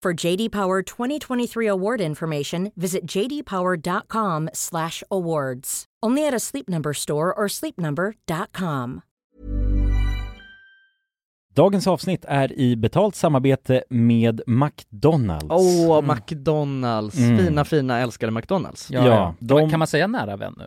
For JD Power 2023 award information, visit jdpower.com/awards. Only at a Sleep Number store or sleepnumber.com. Dagens avsnitt är i betalt samarbete med McDonalds. Åh, McDonalds. Mm. Fina, fina, älskade McDonalds. Ja, ja. De, Kan man säga nära vän nu?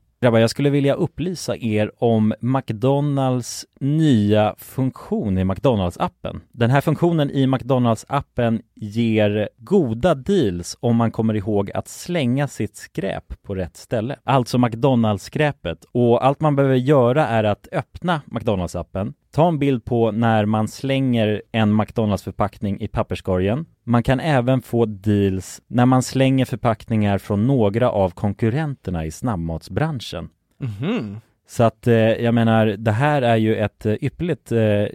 Grabbar, jag skulle vilja upplysa er om McDonalds nya funktion i McDonalds-appen. Den här funktionen i McDonalds-appen ger goda deals om man kommer ihåg att slänga sitt skräp på rätt ställe. Alltså McDonalds-skräpet. Och allt man behöver göra är att öppna McDonalds-appen, ta en bild på när man slänger en McDonalds-förpackning i papperskorgen. Man kan även få deals när man slänger förpackningar från några av konkurrenterna i snabbmatsbranschen. Så att eh, jag menar, det här är ju ett eh, ypperligt eh,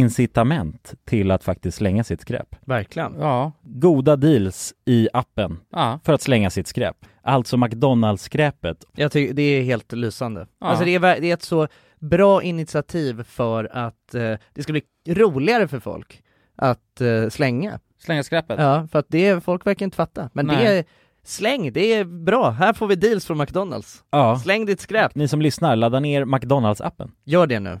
incitament till att faktiskt slänga sitt skräp. Verkligen. Ja. Goda deals i appen ja. för att slänga sitt skräp. Alltså McDonalds-skräpet. Jag tycker det är helt lysande. Ja. Alltså det är, ver- det är ett så bra initiativ för att eh, det ska bli roligare för folk att eh, slänga. Slänga skräpet. Ja, för att det, är- folk verkar inte fatta. Men det Nej. är, släng, det är bra. Här får vi deals från McDonalds. Ja. Släng ditt skräp. Ni som lyssnar, ladda ner McDonalds-appen. Gör det nu.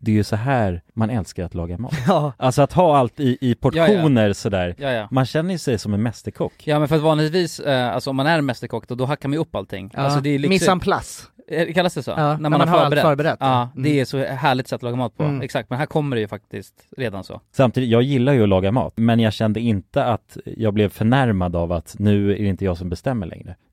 det är ju så här man älskar att laga mat. Ja, Alltså att ha allt i, i portioner sådär. Ja, ja. Man känner ju sig som en mästerkock. Ja men för att vanligtvis, eh, alltså om man är en mästerkock då, då hackar man ju upp allting. ja. Alltså det är Miss en liksom, place. Eh, kallas det så? Ja, När man, har förberett. allt förberett. Ja, Mm. det är så härligt sätt att laga mat på. Mm. Exakt, men här kommer det ju faktiskt redan så. Samtidigt, jag gillar ju att laga mat, men jag kände inte att jag blev förnärmad av att nu är det inte jag som bestämmer längre.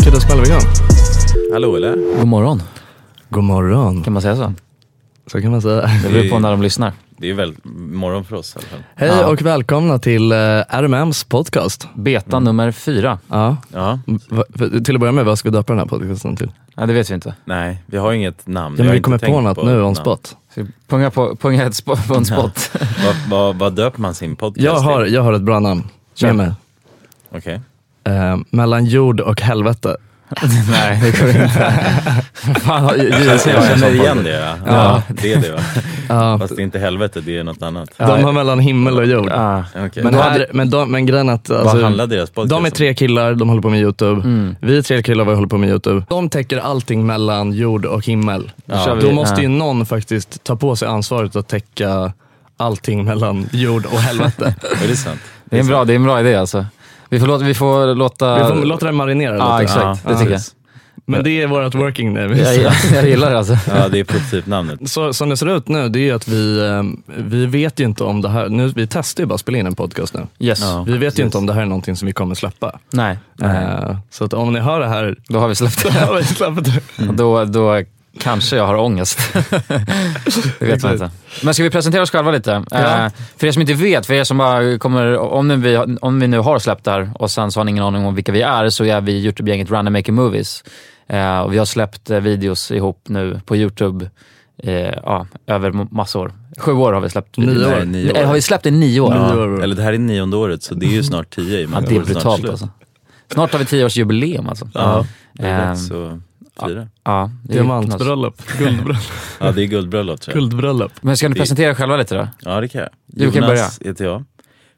Okej, då smäller vi igång. Hallå eller? God morgon, God morgon. kan man säga så? Så kan man säga. Det beror på när de lyssnar. Det är väl morgon för oss i alla fall. Hej Ja. och välkomna till eh, RMMs podcast. Beta nummer fyra. Ja, Mm, Ja, till att börja med, vad ska vi döpa den här podcasten till? Ja, det vet vi inte. nej, vi har inget namn. Ja, har men vi inte kommer på tänkt något nu ett on namn. spot. Så vi punga på, punga ett spot, på en spot. Vad, vad, vad döper man sin podcast Jag har, till? jag har ett bra namn. Kör. Med mig. Okej. Eh, mellan jord och helvete. Nej, det kommer inte. Fan, har- jag, Jag känner jag- igen det ja. ja. Det är det va? Fast det är inte helvete, det är något annat. De har mellan himmel och jord. Ah, Okej. Men, här, men, de, men grejen att, vad alltså, handlar deras podcast de är tre killar, de håller på med YouTube. Mm. Vi är tre killar, vi håller på med YouTube. De täcker allting mellan jord och himmel. Då kör vi- Då måste ja. ju någon faktiskt ta på sig ansvaret att täcka allting mellan jord och helvete. om? Är det sant? det, är en bra, det är en bra idé alltså. Vi får låta... Vi får låta... Vi får låta det marinera Ja, lite. exakt. Ja, det tycker jag. precis. Men det är vårt working name. Jag, jag, jag gillar det alltså. Ja, det är prototypnamnet. Så, som det ser ut nu, det är ju att vi, eh, vi vet ju inte om det här, nu, vi testar ju bara att spela in en podcast nu. Yes. Ja. Vi vet ju inte om det här är någonting som vi kommer släppa. Nej. Nej. Eh, så att om ni hör det här, Då har vi släppt då det. Mm. har vi släppt det. Då, då kanske jag har ångest. det vet man inte. Men ska vi presentera oss själva lite? Eh, för er som inte vet, för er som bara kommer... Om nu vi, om vi nu har släppt det här och sen så har ni ingen aning om vilka vi är, så är vi Youtube-gänget Random Making Movies. Eh, och vi har släppt eh, videos ihop nu på Youtube eh, ja, över m- massor. Sju år har vi släppt videos. Nio år. Nej, nio år. Eh, har vi släppt det i nio år? Mm. Ja, eller det här är nionde året, så det är ju snart tio. i Ja, många det är år, snart brutalt slut. alltså. Snart har vi tioårsjubileum alltså. Ja, det är Ehm, dags att fira. Ja, det är ju knas. Diamantbröllop, guldbröllop, Ja, det är guldbröllop tror jag. guldbröllop. Men ska ni presentera er själva lite då? Ja, det kan jag. Du kan Jonas heter jag.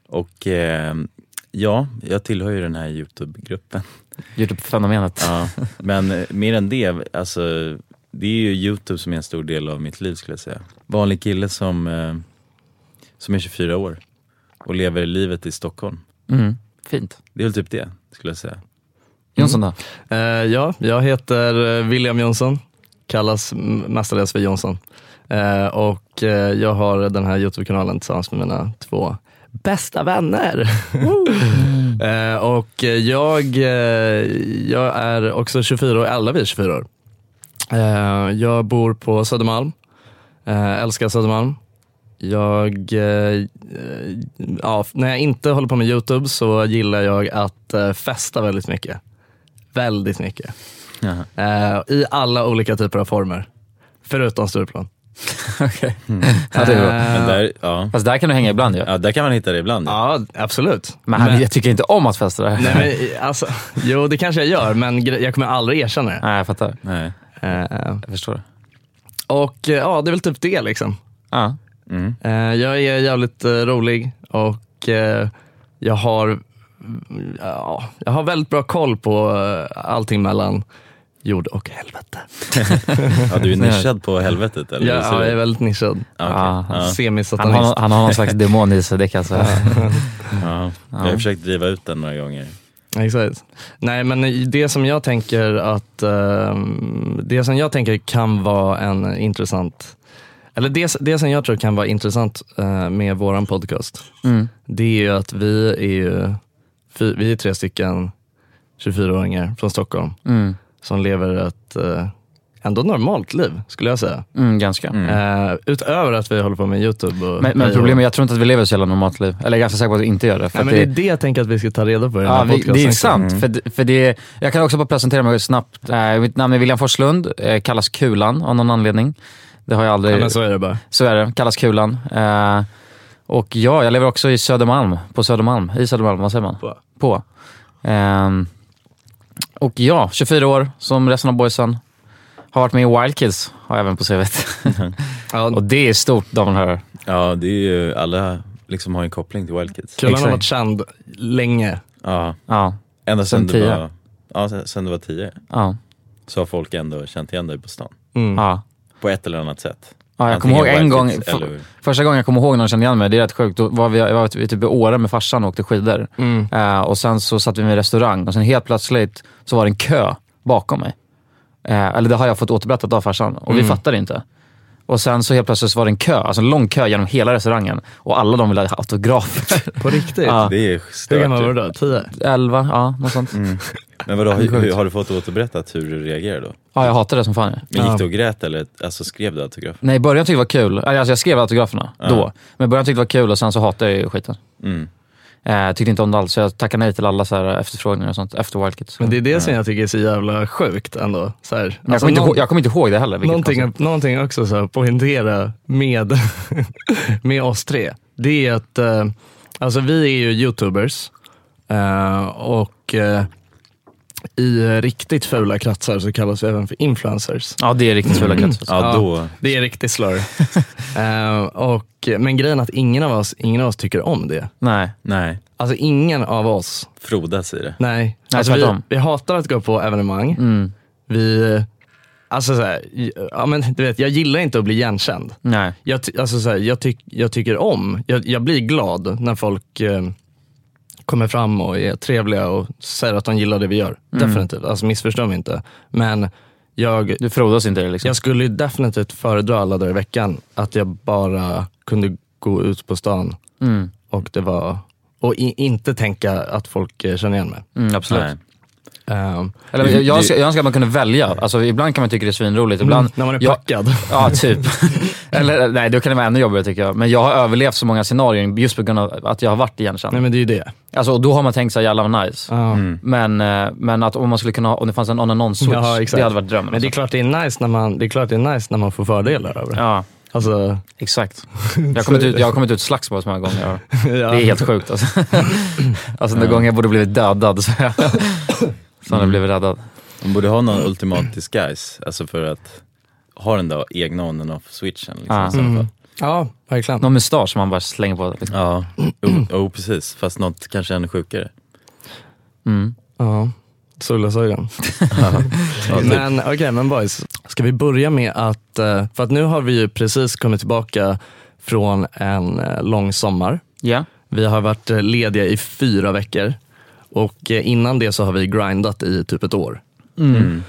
Och eh, ja, jag tillhör ju den här Youtube-gruppen. Youtube-fenomenet. Ja. Men eh, mer än det, alltså, det är ju Youtube som är en stor del av mitt liv skulle jag säga. Vanlig kille som, eh, som är 24 år och lever livet i Stockholm. Mm. Fint. Det är väl typ det, skulle jag säga. Jonsson då? Eh, ja, jag heter eh, William Jonsson, kallas m- mestadels för Jonsson. Eh, och eh, jag har den här Youtube-kanalen tillsammans med mina två bästa vänner. eh, och eh, jag, eh, jag är också 24 år, alla vi är 24 år. Eh, jag bor på Södermalm, eh, älskar Södermalm. Jag, eh, eh, ja, när jag inte håller på med Youtube så gillar jag att eh, festa väldigt mycket. Väldigt mycket. Jaha. Eh, I alla olika typer av former. Förutom Stureplan. Okej. Ja, det är bra. Men där, ja. Fast där kan du hänga ibland ju. Eh, ja, där kan man hitta det ibland. Ja. Ja, absolut. Men, han, jag tycker inte om att festa där. Nej, Nej, men, alltså, jo, det kanske jag gör, men gre- jag kommer aldrig erkänna det. jag fattar. Nej. Eh, Jag förstår. det. och eh, ja, det är väl typ det liksom. Ja. Mm. Eh, jag är jävligt eh, rolig och eh, jag har mm, ja, jag har väldigt bra koll på eh, allting mellan jord och helvete. Ja, du är nischad på helvetet eller? Ja, Hur ser ja, det jag är ut? väldigt nischad. Ah, Ja, okej. Ja. Semisatanist. Han har- han har någon slags demon i sig, det kan jag säga. Ja. Jag har Ja. försökt driva ut den några gånger. Exakt. Nej men det som jag tänker att ehm, det som jag tänker kan vara en intressant eller det, det som jag tror kan vara intressant eh, med våran podcast Mm. det är ju att vi är ju fy, vi är tre stycken 24-åringar från Stockholm Mm. som lever ett eh, ändå normalt liv skulle jag säga. Mm, ganska. Eh, utöver att vi håller på med Youtube. Och Men, men problemet, jag tror inte att vi lever ett så jävla normalt liv. Eller jag är ganska säker på att vi inte gör det. För Nej, att men det är det jag tänker att vi ska ta reda på i den Ja, här vi, podcasten. det är också. Mm. sant. För, det- för det, jag kan också bara presentera mig snabbt. Eh, mitt namn är William Forslund, eh, kallas Kulan av någon anledning. Det har jag aldrig... Ja, men så är det bara. Så är det, kallas Kulan. Eh, och ja, jag lever också i Södermalm, på Södermalm. I Södermalm, vad säger man? På. Ehm, och ja, 24 år, som resten av boysen. Har varit med i Wild Kids, har jag även på CVt. och det är stort, damer och herrar. Ja, det är ju alla liksom har en koppling till Wild Kids. Kulan har varit känd länge. Ja. ja. Ända sen, Sen du tio. var, ja, sen, sen du var tio. Ja. Så har folk ändå känt igen dig på stan. Mm. Ja. På ett eller annat sätt. Ja, jag kommer ihåg Antingen en Wild gång, Kids f- eller- första gången jag kommer ihåg någon kände igen mig, det är rätt sjukt. Då var vi, jag var typ i Åre med farsan och åkte skidor. Mm. Mm. Eh, och sen så satt vi med en restaurang och sen helt plötsligt så var det en kö bakom mig. Eh, eller det har jag fått återberättat av farsan och vi Mm. fattade inte. Och sen så helt plötsligt så var det en kö, alltså en lång kö genom hela restaurangen och alla de ville ha autografer. På riktigt? Ja. Det är stört. Hur gammal ju. var du då? 10? 11, ja något sånt. Men vadå, Det är har, sjukt. har du fått återberättat hur du reagerade då? Ja, jag hatade det som fan. Men gick Ja. du och grät eller alltså, skrev du autograf? Nej, i början tyckte jag det var kul. Alltså jag skrev autograferna Ja. då. Men i början tyckte jag det var kul och sen så hatade jag ju skiten. Mm. Eh, tyckte inte om det alls, så jag tackade nej till alla så här efterfrågningar och sånt efter Wild Kids. Men det är det som jag tycker är så jävla sjukt ändå. Så här. alltså Jag kommer inte ihåg- jag kommer inte ihåg det heller, vilket Någonting, någonting också så här, poängtera med, med oss tre, det är att eh, alltså vi är ju youtubers eh, och eh, i riktigt fula kretsar så kallas vi även för influencers. Ja, det är riktigt fula kretsar. Ja, då- det är riktigt slur. Eh, och, men grejen är att ingen av oss, ingen av oss tycker om det. Nej. Nej. Alltså ingen av oss frodas i det. Nej, Nej, alltså, vi, tvärtom. vi hatar att gå på evenemang. Mm, Vi, alltså så här, ja, men, du vet, jag gillar inte att bli igenkänd. Nej. Jag, ty- alltså, så här, jag, tyck- jag tycker om, jag, jag blir glad när folk eh, kommer fram och är trevliga och säger att de gillar det vi gör. Mm. Definitivt, alltså missförstå mig inte. Men jag, du frodas inte det, liksom. jag skulle ju definitivt föredra alla dagar i veckan att jag bara kunde gå ut på stan Mm. och det var och i, inte tänka att folk eh, känner igen mig. Mm, absolut. Nej. Ehm, Eller, jag, jag, önskar, jag önskar att man kunde välja. Alltså, ibland kan man tycka det är svinroligt. Ibland, Mm, när man är jag, packad. Ja, typ. Eller nej, då kan det vara ännu jobbigare tycker jag. Men jag har överlevt så många scenarier just på grund av att jag har varit igenkänd. Nej, men det är ju det. Alltså, och då har man tänkt så här, jävlar vad nice. Mm. Men, eh, men att om man skulle kunna ha, om det fanns en on and on switch, Ja, exakt. det hade varit drömmen. alltså. Men det är, klart det, är nice när man, det är klart det är nice när man får fördelar av det. Ja. Alltså... Exakt. Jag har kommit ut, jag har kommit ut slagsmål så många gånger. Det är helt sjukt alltså. alltså den Ja. gången jag borde blivit dödad. Så jag, så hade jag blivit räddad. Man borde ha någon ultimat disguise, alltså för att ha den där egna on and off switchen. Liksom, Ja. i så fall. Mm. Ja, verkligen. Någon mustasch som man bara slänger på. Liksom. Ja, jo, jo, precis. Fast något kanske ännu sjukare. Mm. Ja, solglasögon. Ja, typ. men okej, men boys. Ska vi börja med att, eh, för att nu har vi ju precis kommit tillbaka från en eh, lång sommar. Ja. Vi har varit eh, lediga i fyra veckor och eh, innan det så har vi grindat i typ ett år. Mm.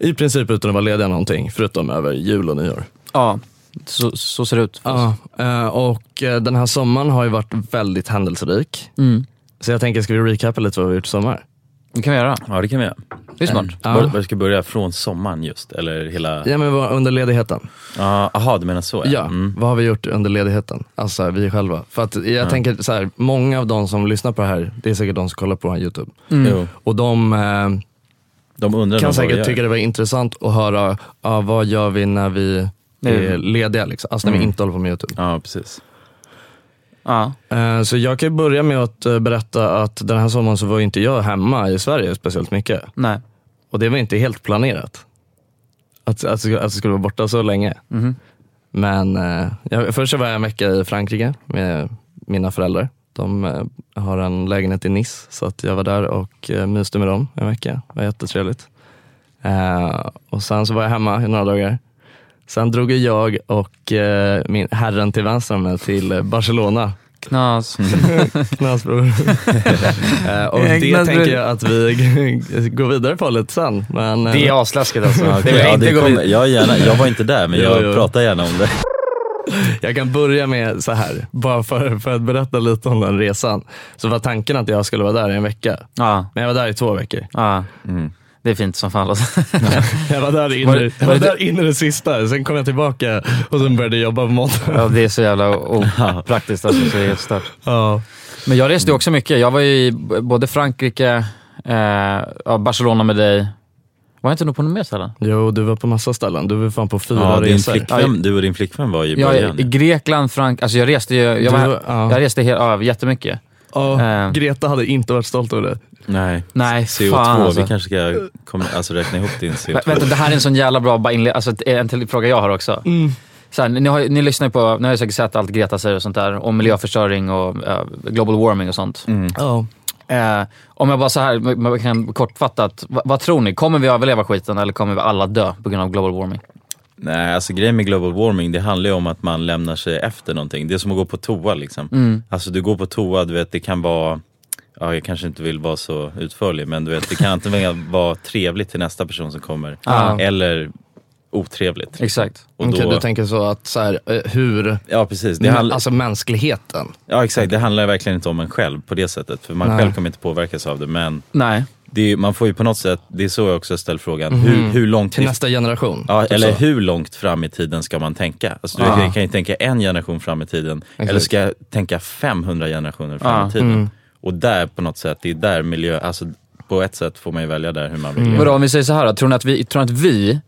I princip utan att vara lediga någonting, förutom över jul och nyår. Ja, så, så ser det ut. Ja, eh, och eh, den här sommaren har ju varit väldigt händelserik. Mm. Så jag tänker, ska vi recapa lite vad vi har gjort i sommar? Det kan vi göra. Ja, det kan vi göra. Det är smart. Ja. Var, var ska vi börja? Från sommaren just? Eller hela... Ja, men vad- under ledigheten. Ja, Jaha, du menar så? mm. Ja, vad har vi gjort under ledigheten? Alltså så här, vi själva. För att jag tänker så här, många av de som lyssnar på det här, det är säkert de som kollar på vår YouTube. Mm. Jo. Och de, eh, De undrar kan nog vad vi säkert gör. tycka det var intressant att höra, ja, vad gör vi när vi är Mm. lediga? Liksom. Alltså när vi Mm. inte håller på med YouTube. Ja, precis. Ja. Eh, Så jag kan ju börja med att eh, berätta att den här sommaren så var ju inte jag hemma i Sverige speciellt mycket. Nej. Och det var inte helt planerat. Att, att, att jag skulle vara borta så länge. Mhm. Men eh, jag, först så var jag en vecka i Frankrike med mina föräldrar. De eh, har en lägenhet i Nice, så att jag var där och eh, myste med dem en vecka. Det var jättetrevligt. Eh, och sen så var jag hemma i några dagar. Sen drog ju jag och eh, min herren till vänster om mig till eh, Barcelona. Knas. Knas bror. Eh, och det Knas, bror. tänker jag att vi g- går vidare på lite sen. Men, eh, Det är asläskigt alltså. Ja, Det vill jag det inte gå kommer- vid- Jag, gärna, jag var inte där men Jo, jag jo. pratar gärna om det. Jag kan börja med så här, bara för, för att berätta lite om den resan. Så var tanken att jag skulle vara där i en vecka. Men jag var där i två veckor. Mm. Det är fint som fan. Alltså. jag var där Var inne det- var jag var det- där inne det sista, sen kom jag tillbaka och sen började jag jobba på måndag. Ja, det är så jävla opraktiskt alltså, så det är helt stört. Men jag reste ju också mycket. Jag var ju i b- både Frankrike, eh, ja, Barcelona med dig. Var jag inte nog på något mer ställen? Jo, du var på massa ställen. Du var fan på fyra Ja, din resor. flickvän, du och din flickvän var ju i Ja, början. i Grekland, Frank... Alltså jag reste ju... Jag, var, Du- ja. jag reste helt, ja, jättemycket. Ja, Eh. Greta hade inte varit stolt över det. Nej, Nej, CO2. fan, alltså. Vi kanske ska komma, alltså, räkna ihop din CO2. Vä- Vänta, det här är en sån jävla bra bara inled- alltså, ett- en till fråga jag har också. Så här, ni, har, ju- ni lyssnar ju på, ni har ju säkert sett allt Greta säger och sånt där, om miljöförstöring och eh, global warming och sånt. Eh, om jag bara så här, m- m- kan kortfattat, vad, vad tror ni? Kommer vi överleva skiten eller kommer vi alla dö på grund av global warming? Nej, alltså grejen med global warming, det handlar ju om att man lämnar sig efter någonting. Det är som att gå på toa liksom. Mm. Alltså du går på toa, du vet det kan vara, ja jag kanske inte vill vara så utförlig, men du vet det kan antingen vara trevligt till nästa person som kommer, Ja. eller otrevligt. Exakt. Och Ah. Okej, då, du tänker så att så här, eh, hur... Ja, precis. Det Men, handlar- Alltså mänskligheten. ja exakt, det handlar verkligen inte om en själv på det sättet, för man Nej. själv kommer inte påverkas av det, men Nej. det är, ju- man får ju på något sätt, det är så jag också ställer frågan, Mhm. hur, hur långt... Till nästa generation. Ja, Typ eller så. hur långt fram i tiden ska man tänka? Alltså, du Ja. kan- kan ju tänka en generation fram i tiden, Exakt. eller ska jag tänka 500 generationer fram Ja. i tiden? Mm. Och där på något sätt, det är där miljö, alltså på ett sätt får man ju välja där hur man Mm. vill leva. Vadå, om vi säger så här då, tror ni att vi, tror ni att vi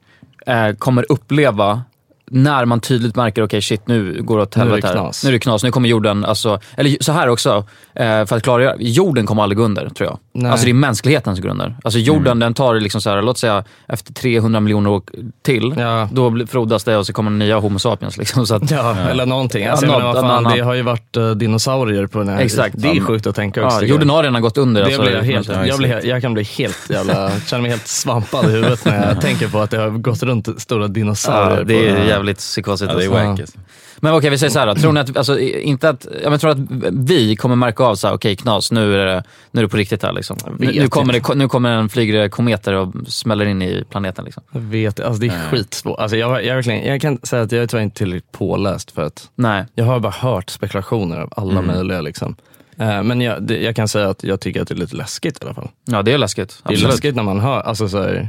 eh, kommer uppleva när man tydligt märker, okej shit nu går det åt Nu är det helvete här. knas. Nu är det knas. Nu kommer jorden, alltså, eller så här också, eh, för att klargöra, jorden kommer aldrig gå under tror jag. Nej. Alltså det är mänsklighetens grunder. Alltså Mm. jorden den tar liksom så här, låt säga efter 300 miljoner år till, då blir- frodas det och så kommer nya homo sapiens liksom. Så att, Ja, eller någonting. Alltså, Ja, jag menar, något- vad fan, något annat. det har ju varit eh, dinosaurier på den här. Exakt. Det är Ja, men- sjukt att tänka ja, också. tycker jorden jag. har redan gått under, Det alltså. blir jag, helt, Ja, jag, blir, exakt. jag kan bli helt jävla, känner mig helt svampad i huvudet när jag tänker på att det har gått runt stora dinosaurier. Ja, det på- är jävligt psykosigt. Ja, det är alltså. wack, alltså. Men okej, vi säger så här då. Tror ni att, alltså, i- inte att, ja, men tror att vi kommer märka av så här, okej knas, nu är, det, nu är det på riktigt här liksom. Nu, vet nu, kommer inte. det, nu kommer en flygande kometer och smäller in i planeten liksom. Jag vet, alltså det är Nej. skitsvårt. Alltså jag, jag, verkligen, jag kan säga att jag är tyvärr inte tillräckligt påläst för att Nej. jag har bara hört spekulationer av alla Mm. möjliga. Liksom. Eh, Men jag, det, jag kan säga att jag tycker att det är lite läskigt i alla fall. Ja, det är läskigt. Det är Absolut. läskigt när man hör, alltså så här,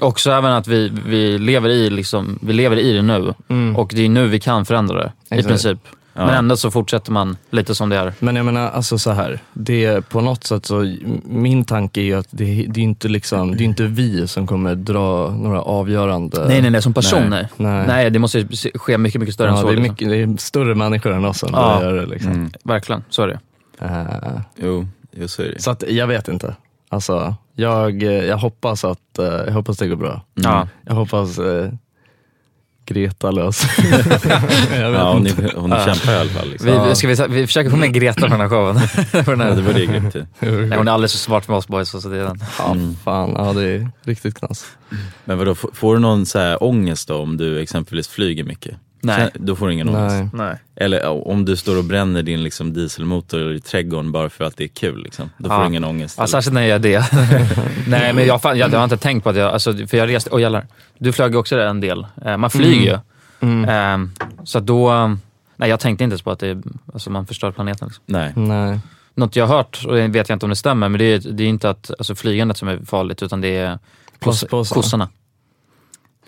Också även att vi, vi, lever, i, liksom, vi lever i det nu och det är nu vi kan förändra det Mm. Exakt. i princip. Ja. Men ändå så fortsätter man lite som det är. Men jag menar, alltså så här, det är på något sätt så, min tanke är ju att det, det är inte liksom, det är inte vi som kommer dra några avgörande... Nej, nej, nej. Som personer. Nej. Nej, det måste ju se- ske mycket, mycket större än Ja, så. det, är liksom. mycket, det är större människor än oss som Ja. börjar det. Liksom. Eh. Mm. Verkligen, så är det. Jo, jo, så är det. Så att, jag vet inte. Alltså, jag, eh, jag, hoppas att, eh, jag hoppas det går bra. Ja. Jag hoppas eh, Greta löser Jag vet Ja, hon, inte. är- hon kämpar i alla fall. Liksom. Mm. Vi, ska vi, vi försöker få med Greta på den här showen. På den här. Ja, Mm. det vore ju grymt ju. Nej, hon är alldeles för smart för oss boys. Så det är den. Mm. Fan, ja det är riktigt knas. Men vadå, f- får du någon så här ångest då om du exempelvis flyger mycket? Nej. Sen- Då får du ingen ångest? Nej. Nej. Eller ja, om du står och bränner din liksom, dieselmotor i trädgården bara för att det är kul, liksom. då får Ja. du ingen ångest? Ja, eller? särskilt när jag gör det. Nej, men jag, fan, jag, jag har inte tänkt på att jag... Alltså, för jag reste... Åh jävlar. Du flög ju också en del. Eh, Man flyger Mm. ju. Ehm, så att då... ehm, Nej, jag tänkte inte ens på att det, är- alltså, man förstör planeten. Liksom. Nej. Nej. Något jag har hört, och det vet jag inte om det stämmer, men det är, det är inte att, alltså, flygandet som är farligt, utan det är kos, Plastpåsar. kossorna.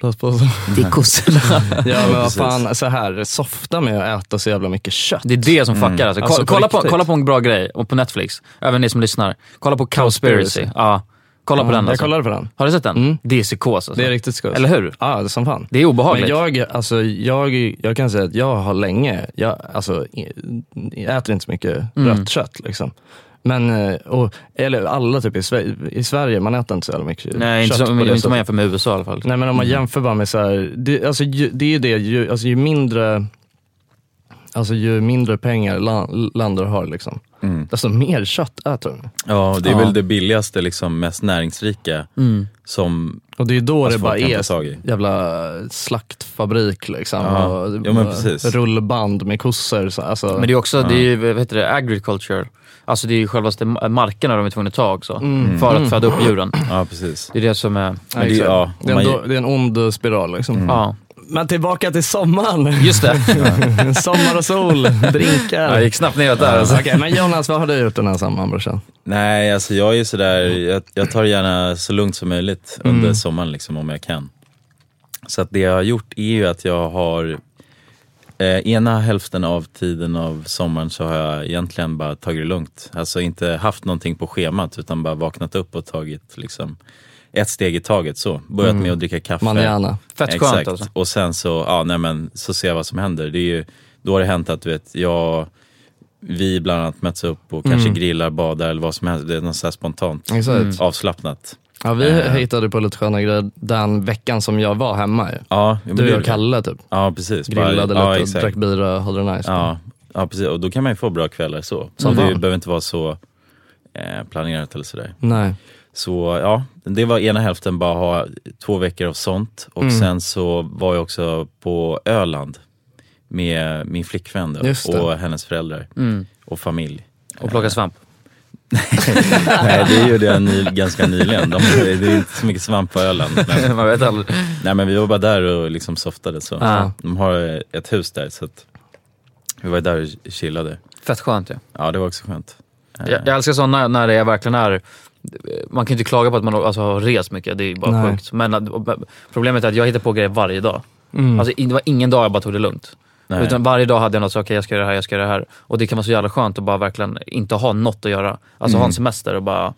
Plastpåsar. Det är kossorna. Mm. Ja men vad precis. fan, så här, softa med att äta så jävla mycket kött. Mm. Det är det som fuckar. Alltså. Ko- på kolla, på riktigt. kolla på en bra grej och på Netflix, även ni som lyssnar. Kolla på Cowspiracy. Cowspiracy. Ja. Kolla på Ja, den. jag Alltså. kollade på den. Mm. Har du sett den? Det är psykos. Alltså. Det är riktigt skoj. Eller hur? Ja, det är som fan. Det är obehagligt. Men jag, alltså, jag, jag kan säga att jag har länge, jag, alltså, i- jag äter inte så mycket Mm. rött kött. Liksom. Men, eh, och, eller alla typ i, Sve- i Sverige, man äter inte så jävla mycket Nej, inte, kött. som, på inte det om man sättet. jämför med USA i alla fall. Nej men om man Mm. jämför bara med så här, det, alltså, ju, det är ju det, ju, alltså, ju mindre Alltså ju mindre pengar land, länder har liksom, desto mer kött äter de. Ja, det är Ja. väl det billigaste, liksom, mest näringsrika Mm. som Och det är då Alltså, det bara folk kan ta är tag i. jävla slaktfabrik liksom. Ja. Och Ja, men precis. Rullband med kossor. Så, alltså. Men det är också, det är ju, vad heter det, agriculture. Alltså det är ju självaste ma- markerna de är tvungna att ta också. Mm. För att Mm. föda upp djuren. Ja, precis. Det är det som är... Mm. Ja, exakt. det, är en, då- det är en ond spiral liksom. Ja. Men tillbaka till sommaren. Just det. Sommar och sol, drinkar. Ja, det gick snabbt neråt där, alltså. Okej, men Jonas, vad har du gjort den här sommaren brorsan? Nej, alltså jag är ju sådär, jag, jag tar det gärna så lugnt som möjligt Mm. under sommaren liksom, om jag kan. Så att det jag har gjort är ju att jag har, eh, ena hälften av tiden av sommaren så har jag egentligen bara tagit det lugnt. Alltså inte haft någonting på schemat utan bara vaknat upp och tagit liksom ett steg i taget så. Börjat Mm. med att dricka kaffe. Manana. Fett skönt, Exakt. alltså. Och sen så, ja nej men så ser jag vad som händer. Det är ju, då har det hänt att du vet, jag vi bland annat möts upp och kanske Mm. grillar, badar eller vad som helst. Det är något så här spontant Exakt. Mm. avslappnat. Ja, vi Eh, hittade på lite sköna grejer den veckan som jag var hemma ju. ja, men det du är och det. Kalle typ. Ja, precis. Grillade Bara- ja, lite, exakt. drack bira och hade det nice. Mm. Ja, ja, precis. Och då kan man ju få bra kvällar så. Så Som det fan. behöver inte vara så eh, planerat eller sådär. Nej. Så ja, det var ena hälften bara ha två veckor av sånt. Och Mm. sen så var jag också på Öland med min flickvän då, Just det. och hennes föräldrar Mm. och familj. Eh, Och plocka svamp. Nej, det gjorde jag ny, ganska nyligen. De, det är inte så mycket svamp på Öland. Men, Man vet aldrig. Nej, men vi var bara där och liksom softade. Så. Ja. De har ett hus där, så att vi var där och chillade. Fett skönt ju. Ja, det var också skönt. Eh. Jag, jag älskar sådana när, när det är verkligen är... Man kan ju inte klaga på att man alltså, har rest mycket, det är ju bara Nej. sjukt. Men att- och- och- problemet är att jag hittar på grejer varje dag. Mm. Alltså, in- det var ingen dag jag bara tog det lugnt. Nej. Utan varje dag hade jag något, så, okej jag ska göra det här, jag ska göra det här. Och det kan vara så jävla skönt att bara verkligen inte ha något att göra. Alltså ha Mm. en semester och bara,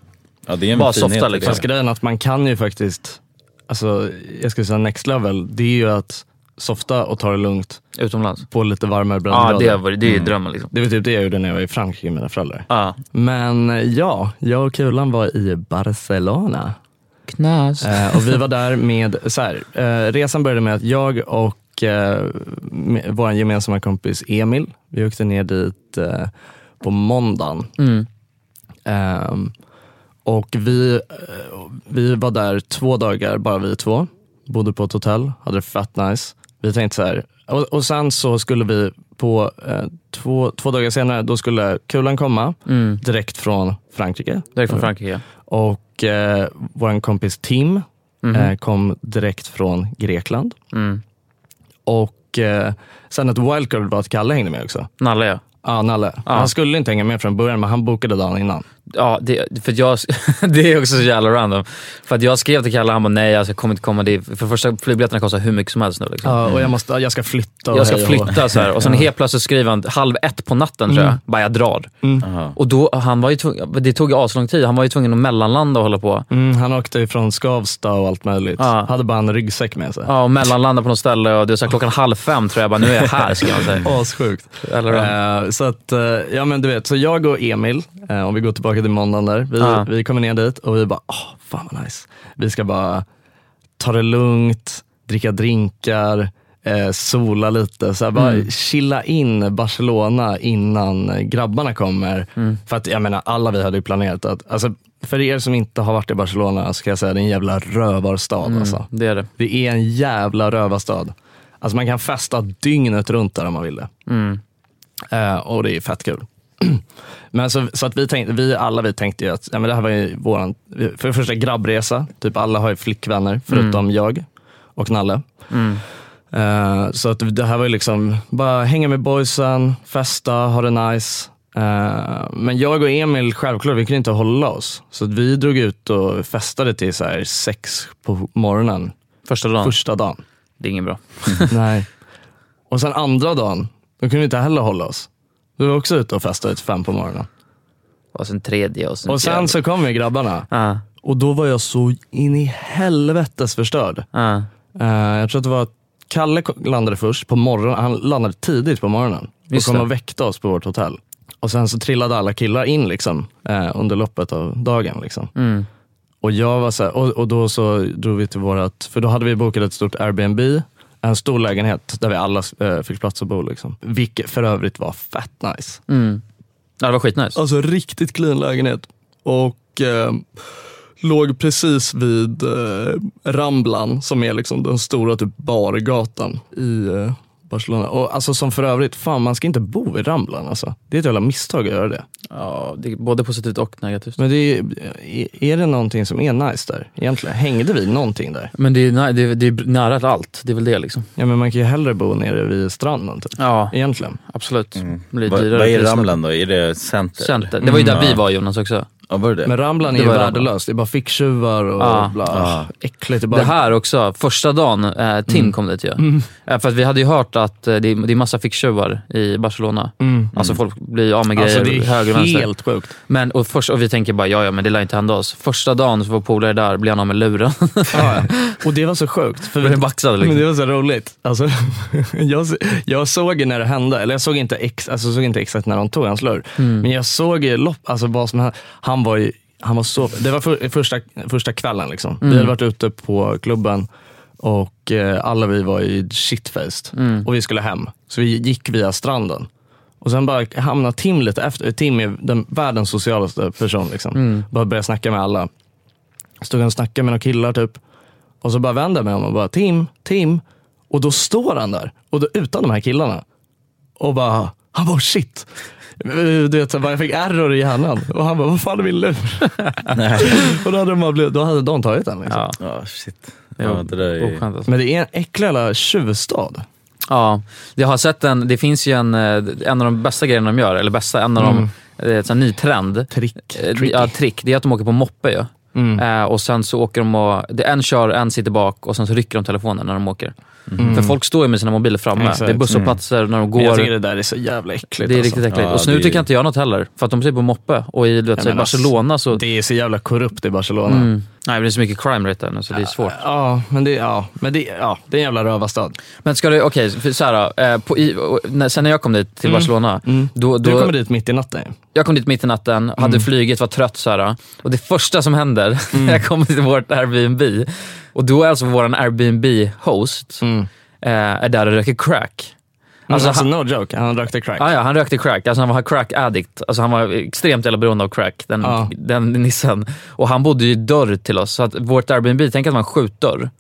det är en bara finhet softa i det. liksom. Fast grejen att man kan ju faktiskt, alltså jag skulle säga next level, det är ju att softa och ta det lugnt. Utomlands? På lite varmare Ja, breddgrader. det var- det är ju Mm. drömmen, liksom. Det var typ det jag gjorde när jag var i Frankrike med mina föräldrar. Ja. Men eh, ja, jag och Kulan var i Barcelona. Knas. Eh, och vi var där med, så här, eh, resan började med att jag och eh, med- vår gemensamma kompis Emil, vi åkte ner dit eh, på måndagen. Mm. Ehm, och vi, eh, vi var där två dagar, bara vi två. Bodde på ett hotell, hade det fett nice. Vi tänkte så här, och, och sen så skulle vi på eh, två, två dagar senare, då skulle Kulan komma Mm. direkt från Frankrike. Direkt från Frankrike, ja. Och eh, vår kompis Tim Mhm. eh, kom direkt från Grekland. Mm. Och eh, sen ett wildcard var att Kalle hängde med också. Nalle ja. Ja, Nalle. Ja. Han skulle inte hänga med från början, men han bokade dagen innan. Ja, det, för att jag, det är också så jävla random. För att jag skrev till Kalle, han bara nej alltså, jag kommer inte komma dit. För första flygbiljetterna kostar hur mycket som helst nu. Liksom. Ja, och jag, måste, jag ska flytta. och Jag ska hej och hå. flytta så här. och sen Ja. helt plötsligt skriver han halv ett på natten tror jag, Mm. bara jag drar. Mm. Och då, han var ju tvungen, det tog ju aslång tid, han var ju tvungen att mellanlanda och hålla på. Mm, han åkte ju från Skavsta och allt möjligt. Hade bara en ryggsäck med sig. Ja, och mellanlanda på något ställe och det var så här, klockan halv fem tror jag bara, nu är jag här skrev han så här. Assjukt. Eh, så att, eh, ja men du vet, så jag och Emil, eh, om vi går tillbaka till måndagen där, vi, Ja. vi kommer ner dit och vi bara, åh fan vad nice. Vi ska bara ta det lugnt, dricka drinkar, eh, sola lite, så här, bara Mm. chilla in Barcelona innan eh, grabbarna kommer. Mm. För att jag menar, alla vi hade ju planerat att, alltså, för er som inte har varit i Barcelona så kan jag säga det är en jävla rövarstad Mm, alltså. Det är det. Det är en jävla rövarstad. Alltså man kan festa dygnet runt där om man vill det. Mm. Eh, och det är fett kul. men så, så att vi tänkte, vi alla vi tänkte ju att ja, men det här var ju våran, för det första grabbresa, typ alla har ju flickvänner förutom jag och Nalle. Mm. Eh, så att det här var ju liksom, bara hänga med boysen, festa, ha det nice. Eh, men jag och Emil, självklart, vi kunde inte hålla oss. Så att vi drog ut och festade till så här sex på morgonen. Första dagen? Första dagen. Det är ingen bra. Nej. Och sen andra dagen, då kunde vi inte heller hålla oss. Vi var också ute och festade till fem på morgonen. Och sen tredje och sen Och sen så kom ju grabbarna. Och då var jag så in i helvetes förstörd. Eh, jag tror att det var att Kalle ko- landade först på morgonen. Han landade tidigt på morgonen. Just och kom det. och väckte oss på vårt hotell. Och sen så trillade alla killar in liksom, eh, under loppet av dagen. Liksom. Mm. Och jag var så här, och, och då så drog vi till vårat, för då hade vi bokat ett stort Airbnb, en stor lägenhet där vi alla eh, fick plats att bo. Liksom. Vilket för övrigt var fett nice. Mm. Ja, det var skitnice. Alltså riktigt clean lägenhet. Och eh, låg precis vid eh, Ramblan, som är liksom den stora typ bargatan i eh, Barcelona. Och alltså som för övrigt, fan man ska inte bo vid Ramblan alltså. Det är ett jävla misstag att göra det. Ja, det är både positivt och negativt. Men det är, eh, är- är det någonting som är nice där egentligen? Hängde vi någonting där? Men det är, na- det, är, det är nära till allt, det är väl det liksom. Ja men man kan ju hellre bo nere vid stranden typ. Ja, Egentligen. absolut. Mm. Vad vad är Ramlan då? Är det center? Center. Det var ju där Mm, vi ja. var Jonas också. Ja, var det det? Men Ramblan är Det ju var värdelöst. Det är bara ficktjuvar och Ja. bla. Ja. Äckligt. Det är bara Det här också, första dagen eh, Tim kom dit ju. Mm. Eh, för att vi hade ju hört att eh, det är, det är massa ficktjuvar i Barcelona. Mm. Alltså folk blir av med grejer Alltså, det är höger och vänster. helt sjukt. Men, och, först, och vi tänker bara, ja ja men det lär inte hända oss. Första dagen så var polare där, blev han av med luren. Ja, och det var så sjukt. För Blev baxad liksom. Men det var så roligt. Alltså, jag, jag såg ju när det hände, eller jag såg inte, ex, alltså, jag såg inte exakt när de tog hans lur, Mm. men jag såg ju lopp, alltså, vad som hände. Han var ju, han var så, det var för, första, första kvällen. Liksom. Vi Mm. hade varit ute på klubben och eh, alla vi var ju shitfaced Mm. och vi skulle hem. Så vi gick via stranden. Och sen bara hamnade Tim lite efter. Tim är den världens socialaste person. Liksom. Mm. Bara började snacka med alla. Stod och snackade med några killar typ. Och så bara vände jag mig om och bara Tim, Tim. Och då står han där, och då, utan de här killarna. Och bara, han bara shit. Du vet, så här, bara, jag fick error i hjärnan. Och han bara, vad fan är min lur? och då hade, de bara blivit, då hade de tagit den. Liksom. Ja. Ja, shit. Det var Ja, det där är... oskönt alltså. Men det är en äcklig jävla tjuvstad. Ja, jag har sett en, det finns ju en, eh, en av de bästa grejerna de gör, eller bästa, en av de, eh, ett sån här ny trend. Mm. Trick. Mm. Eh, Ja, trick. Det är att de åker på moppe ju. Eh, och sen så åker de och, det är en kör, en sitter bak och sen så rycker de telefonen när de åker. Mm. För folk står ju med sina mobiler framme. Exakt. Det är busshållplatser när de går. Men jag tycker det där är så jävla äckligt. Det är alltså. riktigt äckligt. Ja, och snuten det är- kan inte göra något heller, för att de sitter på moppe. Och i, du vet, Nej, så i men alltså, Barcelona så... Det är så jävla korrupt i Barcelona. Mm. Nej, det är så mycket crime rate där nu, så det är svårt. Ja, men det, ja, men det, ja, det är en jävla rövarstad. Men ska du, okej, okay, såhär då. Eh, på, i, och, när, sen när jag kom dit till Mm. Barcelona, Mm. då, då, Du kommer dit mitt i natten ju. jag kom dit mitt i natten, hade Mm. flugit, var trött så här. Och det första som händer när Mm. jag kommer till vårt Airbnb, och då är alltså vår Airbnb-host Mm. eh, är där och röker crack. Alltså, Alltså, alltså han, no joke, han rökte crack. ah, ja, han rökte crack, alltså han var crack addict. Alltså, han var extremt jävla beroende av crack, den, Ja. den nissen. Och han bodde ju i dörr till oss, så att vårt Airbnb, tänk att det var en skjutdörr.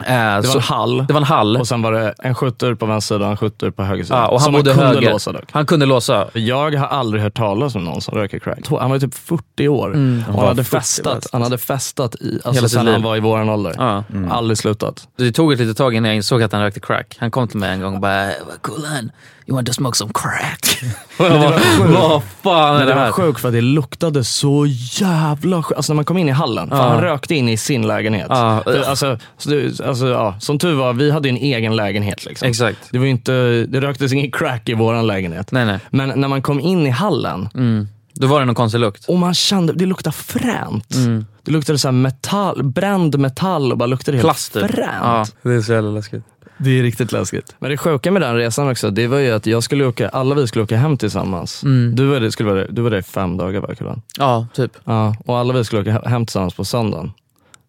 Eh, det var så, en hall det var en hall. och sen var det en skjutdörr på vänster sida och en skjutdörr på höger sida. Ja, och han som bodde man kunde höger. låsa dock. Han kunde låsa. Jag har aldrig hört talas om någon som röker crack. Han var ju typ 40 år och han var hade, 40 festat, bast. han hade festat i, Hela alltså, sitt sen liv. han var i våran ålder. Ja. Aldrig slutat. Det tog ett litet tag innan jag insåg att han rökte crack. Han kom till mig en gång och bara "Eh, “Vad cool han, you want to smoke some crack?” Och jag bara, Vad fan är Men det det var här? sjukt för att det luktade så jävla sjukt. Alltså när man kom in i hallen, fan, Ja. han rökte in i sin lägenhet. Ja. För, alltså, så det, alltså, ja, som tur var, vi hade ju en e- egen lägenhet. Liksom. Exakt. Det, var ju inte, det röktes ingen crack i vår lägenhet. Nej, nej. Men när man kom in i hallen Mm. Då var det någon konstig lukt. och man kände, det luktade fränt. Det luktade så här metall, bränd metall och bara luktade helt Plast typ. fränt. Ja, det är så jävla läskigt. Det är riktigt läskigt. Men det sjuka med den resan också, det var ju att jag skulle åka, alla vi skulle åka hem tillsammans. Mm. Du var där- skulle vara där- du var där i fem dagar va, Kulan? Ja, typ. Ja, och alla vi skulle åka he- hem tillsammans på söndagen.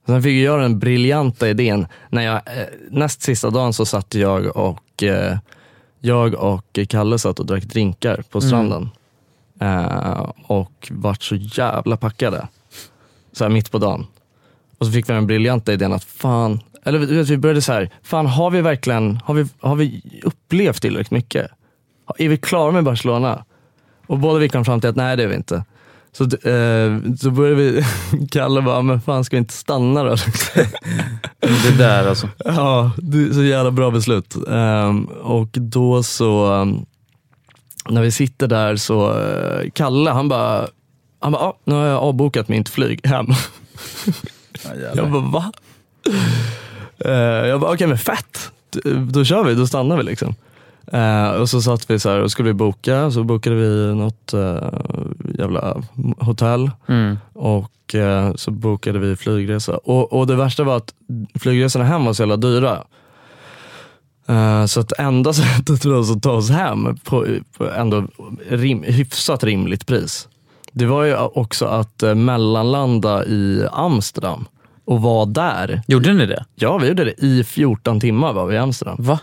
Sen fick ju jag den briljanta idén, när jag, eh, näst sista dagen så satt jag och, eh, jag och Kalle satt och drack drinkar på stranden. Eh, och vart så jävla packade. Så här mitt på dagen. Och så fick vi den briljanta idén att fan, eller du vet, vi började så här, fan har vi verkligen, har vi, har vi upplevt tillräckligt mycket? Är vi klara med Barcelona? Och båda vi kom fram till att nej det är vi inte. Så, eh, så började vi, Kalle bara, men fan ska vi inte stanna då? Det där alltså. ja, det är så jävla bra beslut. Ehm, och då så, ehm, när vi sitter där så, eh, Kalle han bara, han bara, ah, nu har jag avbokat mitt flyg hem. Ja, Jag jävlar. bara, va? Eh, jag bara, okej men fett. D- Då kör vi, då stannar vi liksom. Eh, och så satt vi så här och skulle vi boka, så bokade vi något eh, jävla hotell Mm. och eh, så bokade vi flygresa. Och, och det värsta var att flygresorna hem var så jävla dyra. Eh, så att enda sättet för oss att ta oss hem på, på ändå rim, hyfsat rimligt pris, det var ju också att eh, mellanlanda i Amsterdam och var där. Gjorde ni det? Ja, vi gjorde det. I 14 timmar var vi i Amsterdam. Va?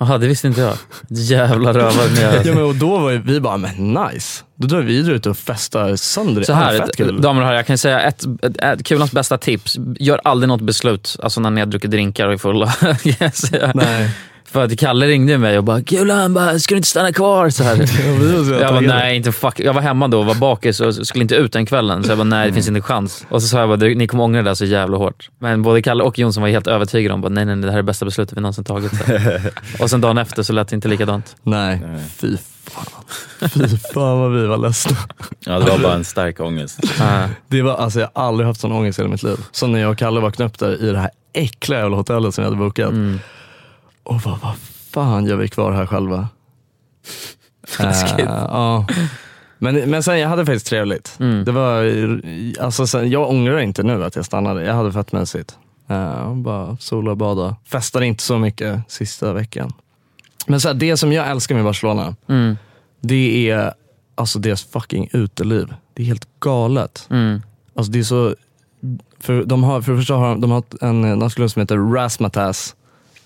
Jaha, det visste inte jag. Jävla rövar ni är. ja, men och Då var ju vi bara, men nice. Då drar vi ut och festar sönder det. Så Ja, här, fett kul. damer och herrar, jag kan säga ett, ett, ett kulans bästa tips. Gör aldrig något beslut, alltså när ni har druckit drinkar och är fulla. kan jag säga. För att Kalle ringde mig och bara “Kulan, bara, ska du inte stanna kvar?” så här. Jag bara, nej, inte fuck. Jag var hemma då och var bakis och skulle inte ut den kvällen. Så jag bara, nej, det finns Mm. inte en chans. Och så sa jag bara, "Du, ni kommer ångra det där så jävla hårt. Men både Kalle och Jonsson var helt övertygade om bara, nej, nej, nej, det här är det bästa beslutet vi någonsin tagit. Så. här. och sen dagen efter så lät det inte likadant. Nej, fy fan. Fy fan vad vi var ledsna. Ja, det var bara en Ah. stark ångest. Det var, alltså, jag har aldrig haft sån ångest i hela mitt liv. Som när jag och Kalle vaknade upp där i det här äckliga jävla hotellet som jag hade bokat. Mm. Och vad, vad fan gör vi kvar här själva? Taskigt. Eh, ja. men, men sen, jag hade faktiskt trevligt. Det var, alltså, sen, jag ångrar inte nu att jag stannade. Jag hade fett mysigt. Eh, bara sola och bada. Festade inte så mycket sista veckan. Men så här, det som jag älskar med Barcelona, Mm. det är alltså deras fucking uteliv. Det är helt galet. Alltså det är så, för, de har, för det första har de, de har en eh, nattklubb som heter Rasmatas.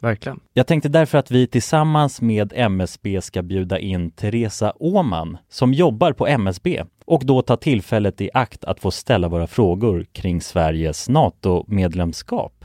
Verkligen. Jag tänkte därför att vi tillsammans med MSB ska bjuda in Teresa Åman som jobbar på MSB och då ta tillfället i akt att få ställa våra frågor kring Sveriges NATO-medlemskap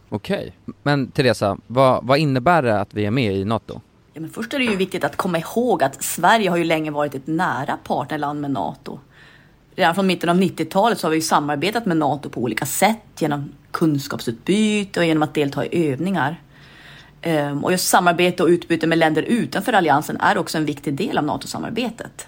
Okej. Men Teresa, vad, vad innebär det att vi är med i NATO? Ja, men först är det ju viktigt att komma ihåg att Sverige har ju länge varit ett nära partnerland med Nato. Redan från mitten av 90-talet så har vi ju samarbetat med Nato på olika sätt genom kunskapsutbyte och genom att delta i övningar. Ehm, Och just samarbete och utbyte med länder utanför alliansen är också en viktig del av NATO-samarbetet.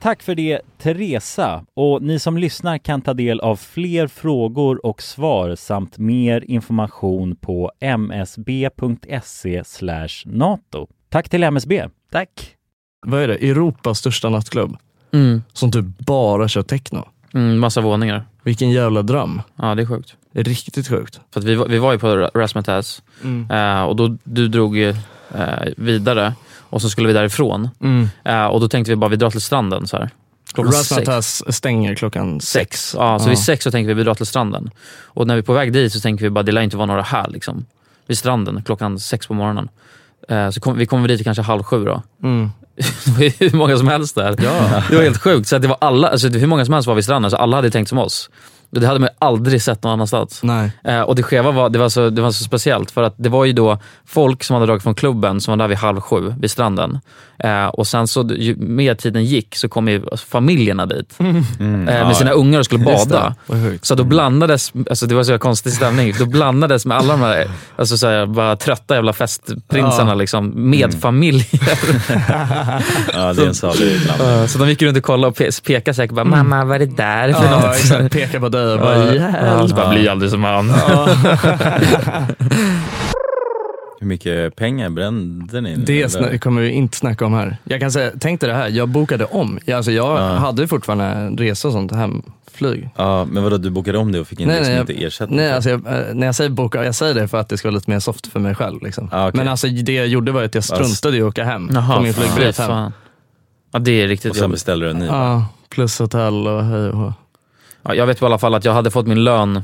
Tack för det Teresa och ni som lyssnar kan ta del av fler frågor och svar samt mer information på msb.se E nato. Tack till MSB. Tack. Vad är det? Europas största nattklubb? Mm. Som typ bara kör techno? Mm, massa våningar. Vilken jävla dröm. Ja, det är sjukt. Riktigt sjukt. För att vi, var- vi var ju på Ra- Razzmatazz Mm. eh, och då, du drog ju, eh, vidare och så skulle vi därifrån. Mm. Eh, och då tänkte vi bara, vi drar till stranden så här. Klockan sex. Razzmatazz stänger klockan sex. Ja, så vid sex så tänker vi, vi drar till stranden. Och när vi är på väg dit så tänker vi bara, det lär inte vara några här liksom. Vid stranden klockan sex på morgonen. Eh, så kom, vi kommer dit kanske halv sju då. Mm. Det var ju hur många som helst där. Ja. Det var helt sjukt. Så att det var alla, alltså, hur många som helst var vid stranden, så alla hade tänkt som oss. Och Det hade man ju aldrig sett någon annanstans. Nej. Eh, och det skeva var, det var, så, det var så speciellt för att det var ju då folk som hade dragit från klubben som var där vid halv sju vid stranden. Eh, och sen så, ju mer tiden gick så kom ju familjerna dit eh, med Mm. Ja. sina ungar och skulle Just bada. det. Vad sjukt. Så då blandades, alltså det var så jävla konstig stämning, då blandades med alla de här alltså så här, bara trötta jävla festprinsarna Ja. liksom, med Mm. familjer. Ja, det är en salig blandning. Eh, Så de gick runt och kollade och pe- pekade säkert bara, mamma vad är det där för Ja, något? exakt. Pekar på dig och bara, ja. "Jävlar." Så bara, bli aldrig som han. Hur mycket pengar brände ni? Det sna- kommer vi inte snacka om här. Jag kan säga, tänk dig det här, jag bokade om. Jag, alltså, jag hade ju fortfarande en resa och sånt, hemflyg. Ja, men vadå, du bokade om det och fick in liksom jag- inte ersättning? nej alltså, jag, eh, när jag säger boka, jag säger det för att det ska vara lite mer soft för mig själv. Liksom. Men alltså, det jag gjorde var att jag struntade i att åka hem. på min flygbiljett hem. Ja, det är riktigt Och sen jobbigt. beställde du en ny? Ja, plus hotell och hej och hå. Ja, jag vet på alla fall att jag hade fått min lön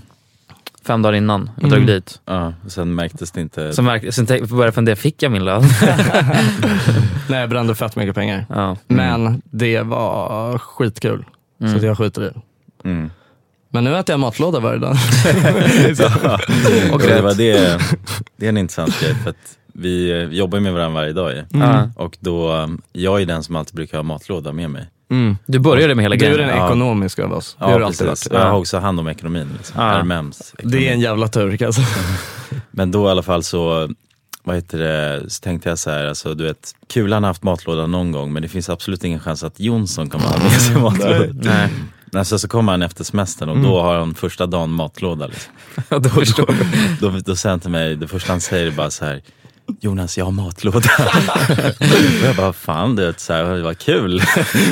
fem dagar innan jag drog Mm. dit. Ja, och sen märktes det inte? Så märk, sen tänk- började jag fundera, fick jag min lön? Nej, jag brände fett mycket pengar. Ja. Men det var skitkul, så Mm. att jag skiter i det. Mm. Men nu äter jag matlåda varje dag. Ja. Och Mm. Och det, rätt. var det, det är en intressant grej för att vi eh, jobbar ju med varandra varje dag ju. Mm. och då, eh, jag är den som alltid brukar ha matlåda med mig. Mm. Du började med hela Du är grejen. den ekonomiska av oss. Det Ja, har du alltid precis. varit. Och jag har Ja. också hand om ekonomin. Liksom. Ja. RMMs. Det är en jävla turk alltså. Men då i alla fall så, vad heter det, så tänkte jag så här, alltså, du vet, Kulan har haft matlåda någon gång men det finns absolut ingen chans att Jonsson kommer att ha med Mm. sig matlåda. Nej. Nej. Nej, Mm. Alltså, så, så kommer han efter semestern och då Mm. har han första dagen matlåda. Liksom. Ja, då förstår då, då, då säger han till mig, det första han säger är bara så här, Jonas jag har matlåda. och jag bara, fan du vet, så här, vad kul.